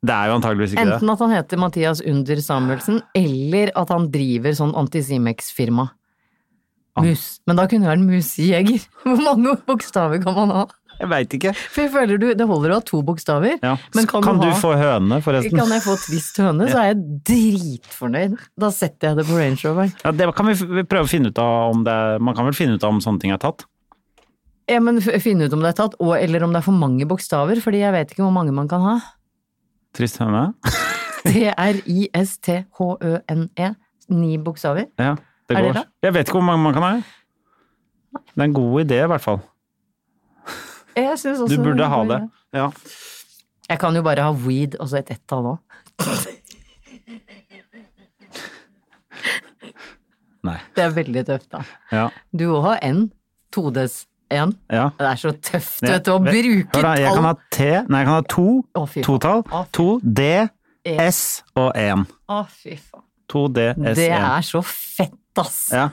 Speaker 1: det er jo antageligvis ikke
Speaker 2: Enten at han heter Mathias Under Samuelsen, eller at han driver sånn antisimex-firma. Mus. Men da kunne det vært musejeger. Hvor mange bokstaver kan man ha?
Speaker 1: det. Jeg veit ikke.
Speaker 2: For jeg føler du, Det holder å ha to bokstaver,
Speaker 1: Ja.
Speaker 2: men kan,
Speaker 1: du,
Speaker 2: du ha
Speaker 1: få høne, forresten?
Speaker 2: Kan jeg få Twist høne, så er jeg dritfornøyd. Da setter jeg det på Range Roveren.
Speaker 1: Ja, det kan vi f- vi prøve å finne ut av om det er, Man kan vel finne ut av om sånne ting er tatt?
Speaker 2: Ja, men f- finne ut om det er tatt, og, eller om det er for mange bokstaver, fordi jeg vet ikke hvor mange man kan ha.
Speaker 1: Trist høne?
Speaker 2: D-R-I-S-T-H-Ø-N-E. E. Ni bokstaver.
Speaker 1: Ja, det
Speaker 2: Er det
Speaker 1: går.
Speaker 2: da?
Speaker 1: Jeg vet ikke hvor mange man kan ha. Det er en god idé, i hvert fall.
Speaker 2: Jeg synes
Speaker 1: Du
Speaker 2: også
Speaker 1: burde ha det. Ja.
Speaker 2: Jeg kan jo bare ha weed og så et ett-tall òg.
Speaker 1: Nei.
Speaker 2: Det er veldig tøft, da.
Speaker 1: Ja.
Speaker 2: Du òg har N. Todes N.
Speaker 1: ja.
Speaker 2: Det er så tøft,
Speaker 1: Jeg-
Speaker 2: vet du, å
Speaker 1: vet-
Speaker 2: bruke
Speaker 1: Hør da, jeg kan ha T, nei, jeg kan ha to,
Speaker 2: Å, fy faen.
Speaker 1: totall,
Speaker 2: Å, fy
Speaker 1: to, D,
Speaker 2: E.
Speaker 1: S og én.
Speaker 2: Å, fy faen.
Speaker 1: To, D, S,
Speaker 2: Det
Speaker 1: én.
Speaker 2: er så fett, ass.
Speaker 1: Ja.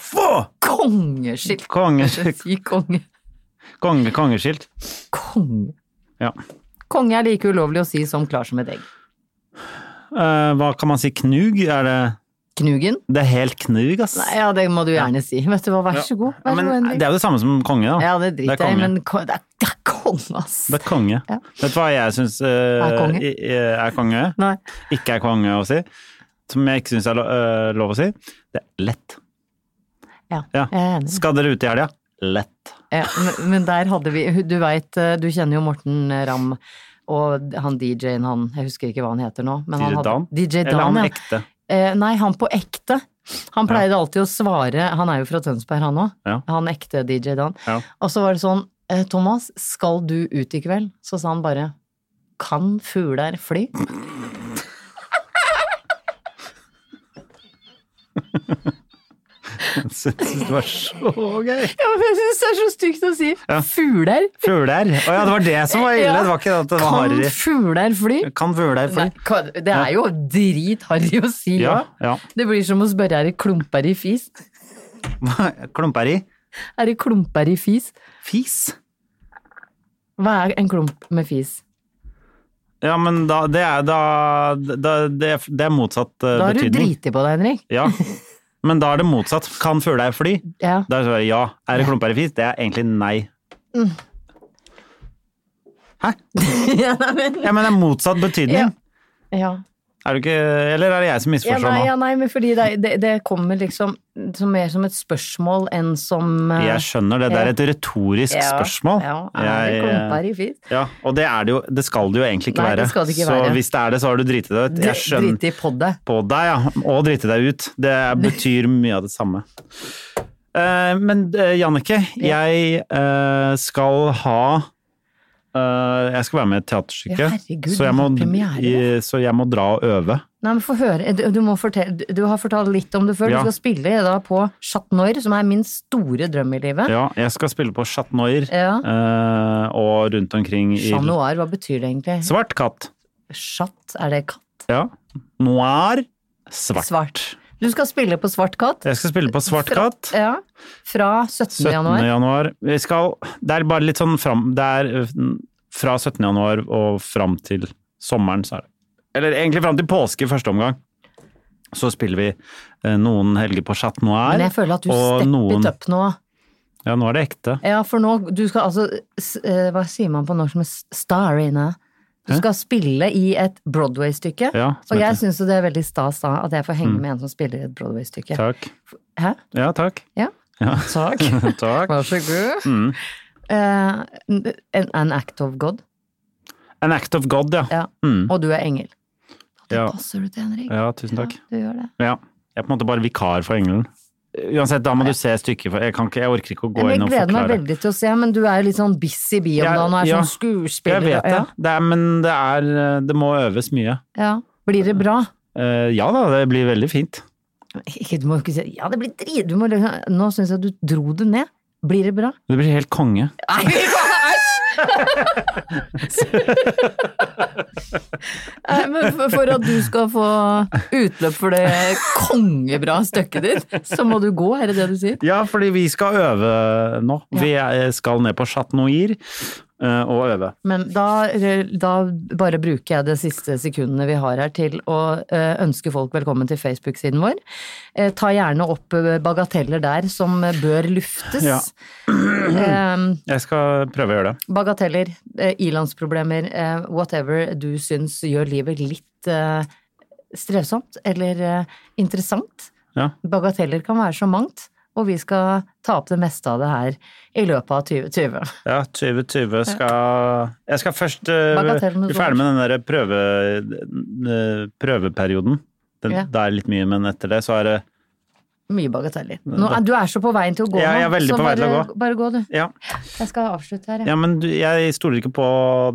Speaker 1: Få!
Speaker 2: Kongeskilt.
Speaker 1: Kongeskilt.
Speaker 2: Si konge.
Speaker 1: Konge, kongeskilt.
Speaker 2: Konge.
Speaker 1: Ja.
Speaker 2: Konge er like ulovlig å si som klar som et egg.
Speaker 1: Eh, hva kan man si? Knug? Er det
Speaker 2: Knugen?
Speaker 1: Det er helt knug, ass.
Speaker 2: Nei, ja, det må du gjerne si. Vet du hva, vær så god.
Speaker 1: Ja,
Speaker 2: Vær så
Speaker 1: men
Speaker 2: god,
Speaker 1: det
Speaker 2: Henrik.
Speaker 1: er jo det samme som konge, da.
Speaker 2: Ja, det
Speaker 1: Det er
Speaker 2: driter jeg i,
Speaker 1: konge.
Speaker 2: men ko- det er, det er konge, ass.
Speaker 1: Det er konge.
Speaker 2: Ja.
Speaker 1: Vet du hva jeg syns er
Speaker 2: konge?
Speaker 1: er konge?
Speaker 2: Nei.
Speaker 1: Ikke er konge å si? Som jeg ikke syns er lo eh, lov å si? Det er lett.
Speaker 2: Ja,
Speaker 1: Ja.
Speaker 2: jeg er enig.
Speaker 1: Skal dere ut i helga? Lett.
Speaker 2: Ja, men, men der hadde vi Du veit, du kjenner jo Morten Ramm og han DJ-en han Jeg husker ikke hva han heter nå. Men han
Speaker 1: DJ
Speaker 2: hadde,
Speaker 1: Dan?
Speaker 2: DJ Dan,
Speaker 1: Eller han
Speaker 2: ja.
Speaker 1: ekte?
Speaker 2: Eh, nei, han på ekte. Han pleide alltid å svare Han er jo fra Tønsberg, han òg.
Speaker 1: Ja.
Speaker 2: Han ekte DJ Dan.
Speaker 1: Ja.
Speaker 2: Og så var det sånn eh, Thomas, skal du ut i kveld? Så sa han bare Kan fugler fly?
Speaker 1: Jeg syns det var så gøy.
Speaker 2: Ja, men jeg syns det er så stygt å si.
Speaker 1: Ja.
Speaker 2: Fugler?
Speaker 1: Fugler. Å ja, det var det som var ille.
Speaker 2: Ja.
Speaker 1: Det var ikke at det var
Speaker 2: Kan
Speaker 1: harry.
Speaker 2: fugler fly?
Speaker 1: Kan fugler fly?
Speaker 2: Nei, kan, det er jo dritharry å si
Speaker 1: Ja.
Speaker 2: ja.
Speaker 1: ja.
Speaker 2: Det blir som å spørre er det klumper i fis.
Speaker 1: Klumper i.
Speaker 2: Er det klumper i fis?
Speaker 1: Fis.
Speaker 2: Hva er en klump med fis?
Speaker 1: Ja, men da, det, er, da, da det, er- det er motsatt eh,
Speaker 2: Da har du
Speaker 1: betydning.
Speaker 2: driti på deg, Henrik.
Speaker 1: Ja. Men da er det motsatt. Kan fugler fly?
Speaker 2: Ja.
Speaker 1: Da er det svaret ja. Er det klumper i fis? Det er egentlig nei. Hæ?
Speaker 2: ja, nei, men,
Speaker 1: Ja, men det er motsatt betydning.
Speaker 2: Ja. ja.
Speaker 1: Er du ikke, eller er det jeg som
Speaker 2: Ja,
Speaker 1: misforstår
Speaker 2: nei,
Speaker 1: nå?
Speaker 2: ja, nei, men fordi det, det, det kommer liksom som mer som et spørsmål enn som eh,
Speaker 1: Jeg skjønner det. Det er et retorisk
Speaker 2: ja,
Speaker 1: spørsmål.
Speaker 2: Ja, er det
Speaker 1: Jeg-
Speaker 2: klumper i fis?
Speaker 1: Ja, og det, er det, jo, det skal det jo egentlig ikke
Speaker 2: Nei,
Speaker 1: være.
Speaker 2: det skal det ikke
Speaker 1: så
Speaker 2: være.
Speaker 1: hvis det er det, så har du driti deg ut. Jeg skjønner
Speaker 2: Driti på det.
Speaker 1: på deg, ja. Og driti deg ut. Det betyr mye av det samme. Eh, men eh, Jannicke, jeg eh, skal ha eh, Jeg skal være med i et teaterstykke.
Speaker 2: Ja, herregud,
Speaker 1: så, jeg må,
Speaker 2: det er premiere,
Speaker 1: i- så jeg må dra og øve.
Speaker 2: Nei, men få høre. eh, Du, du, må fortelle, du- du har fortalt litt om det før.
Speaker 1: Ja.
Speaker 2: Du skal spille da på Chat Noir, som er min store drøm i livet.
Speaker 1: Ja, jeg skal spille på Chat Noir
Speaker 2: Ja.
Speaker 1: eh, og rundt omkring i
Speaker 2: Chat Noir, hva betyr det egentlig?
Speaker 1: Svart katt.
Speaker 2: Chat, er det katt?
Speaker 1: Ja. Noir. Svart.
Speaker 2: Svart. Du skal spille på Svart katt?
Speaker 1: Jeg skal spille på Svart
Speaker 2: Fra-
Speaker 1: katt.
Speaker 2: Ja. Fra 17.
Speaker 1: 17.
Speaker 2: januar.
Speaker 1: januar. Vi skal, det er bare litt sånn fram Det er ø, fra 17. januar og fram til sommeren, så er det. Eller egentlig fram til påske i første omgang. Så spiller vi eh, noen helger på Chat Noir.
Speaker 2: Men jeg føler at du
Speaker 1: og
Speaker 2: steppet
Speaker 1: noen-
Speaker 2: opp nå.
Speaker 1: Ja, nå er det ekte.
Speaker 2: Ja, for nå, du skal altså, s- eh, hva sier man på norsk med star inne? Du skal spille i et Broadway-stykke,
Speaker 1: Ja, som
Speaker 2: og jeg
Speaker 1: heter- Mm.
Speaker 2: syns jo det er veldig stas da at jeg får henge med en som spiller i et Broadway-stykke.
Speaker 1: Takk.
Speaker 2: Hæ?
Speaker 1: Ja, takk.
Speaker 2: Ja.
Speaker 1: Ja.
Speaker 2: Takk.
Speaker 1: takk. Mm.
Speaker 2: Vær så god. Eh, an, an act of God.
Speaker 1: An act of God, ja.
Speaker 2: Ja. Og du er engel. Det
Speaker 1: Mm. Ja.
Speaker 2: passer du til, Henrik.
Speaker 1: Ja, tusen takk.
Speaker 2: Ja, du gjør det.
Speaker 1: Ja. Jeg er på en måte bare vikar for engelen. Uansett, da må du se stykket. for Jeg, kan ikke, jeg orker ikke å gå
Speaker 2: Jeg
Speaker 1: inn og
Speaker 2: gleder meg
Speaker 1: forklare.
Speaker 2: veldig til å se, men du er jo litt sånn busy bi om
Speaker 1: Jeg-
Speaker 2: dagen og er
Speaker 1: ja.
Speaker 2: sånn skuespiller.
Speaker 1: Jeg vet det,
Speaker 2: Ja.
Speaker 1: det er, men det, er, eh, det må øves mye.
Speaker 2: Ja. Blir det bra?
Speaker 1: Eh, ja da, det blir veldig fint.
Speaker 2: Ikke, du må ikke si Ja, det blir drit... Du må, liksom- nå syns jeg du dro det ned. Blir det bra?
Speaker 1: Det blir helt konge.
Speaker 2: Nei, æsj! Nei, men for, for at du skal få utløp for det kongebra stykket ditt, så må du gå, er det det du sier?
Speaker 1: Ja, fordi vi skal øve nå. Vi eh, skal ned på Chat Noir eh, og øve.
Speaker 2: Men da, da bare bruker jeg de siste sekundene vi har her til å eh, ønske folk velkommen til Facebook-siden vår. Eh, Ta gjerne opp eh, bagateller der som eh, bør luftes.
Speaker 1: Ja.
Speaker 2: Eh,
Speaker 1: Jeg skal prøve å gjøre det.
Speaker 2: Bagateller, eh, ilandsproblemer, eh, whatever du syns gjør livet litt eh, strevsomt eller eh, interessant.
Speaker 1: Ja.
Speaker 2: Bagateller kan være så mangt, og vi skal ta opp det meste av det her i løpet av 2020.
Speaker 1: Ja, 2020 skal Jeg skal først eh,
Speaker 2: Bagatellen
Speaker 1: bli
Speaker 2: hos
Speaker 1: ferdig
Speaker 2: oss.
Speaker 1: med den der prøve, eh, prøveperioden. Den,
Speaker 2: Ja.
Speaker 1: Det er litt mye, men etter det så er det
Speaker 2: Mye bagateller. Nå, er- du er så på veien til å gå
Speaker 1: Ja, jeg er
Speaker 2: nå,
Speaker 1: veldig
Speaker 2: så
Speaker 1: på vei
Speaker 2: bare,
Speaker 1: til å gå.
Speaker 2: bare gå du.
Speaker 1: Ja,
Speaker 2: Jeg skal avslutte her, jeg.
Speaker 1: ja men du, jeg stoler ikke på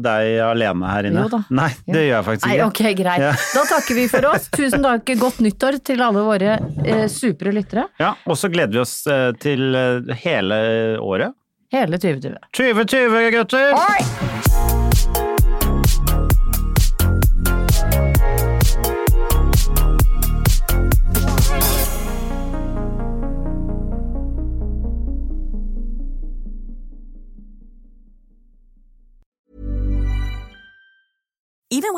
Speaker 1: deg alene her inne.
Speaker 2: Jo da.
Speaker 1: Nei, det gjør jeg faktisk
Speaker 2: Nei,
Speaker 1: ikke.
Speaker 2: ok, greit.
Speaker 1: Ja.
Speaker 2: Da takker vi for oss. Tusen takk. Godt nyttår til alle våre eh, supre lyttere.
Speaker 1: Ja, og så gleder vi oss eh, til eh, hele året.
Speaker 2: Hele 2020.
Speaker 1: 2020, gutter!
Speaker 5: Even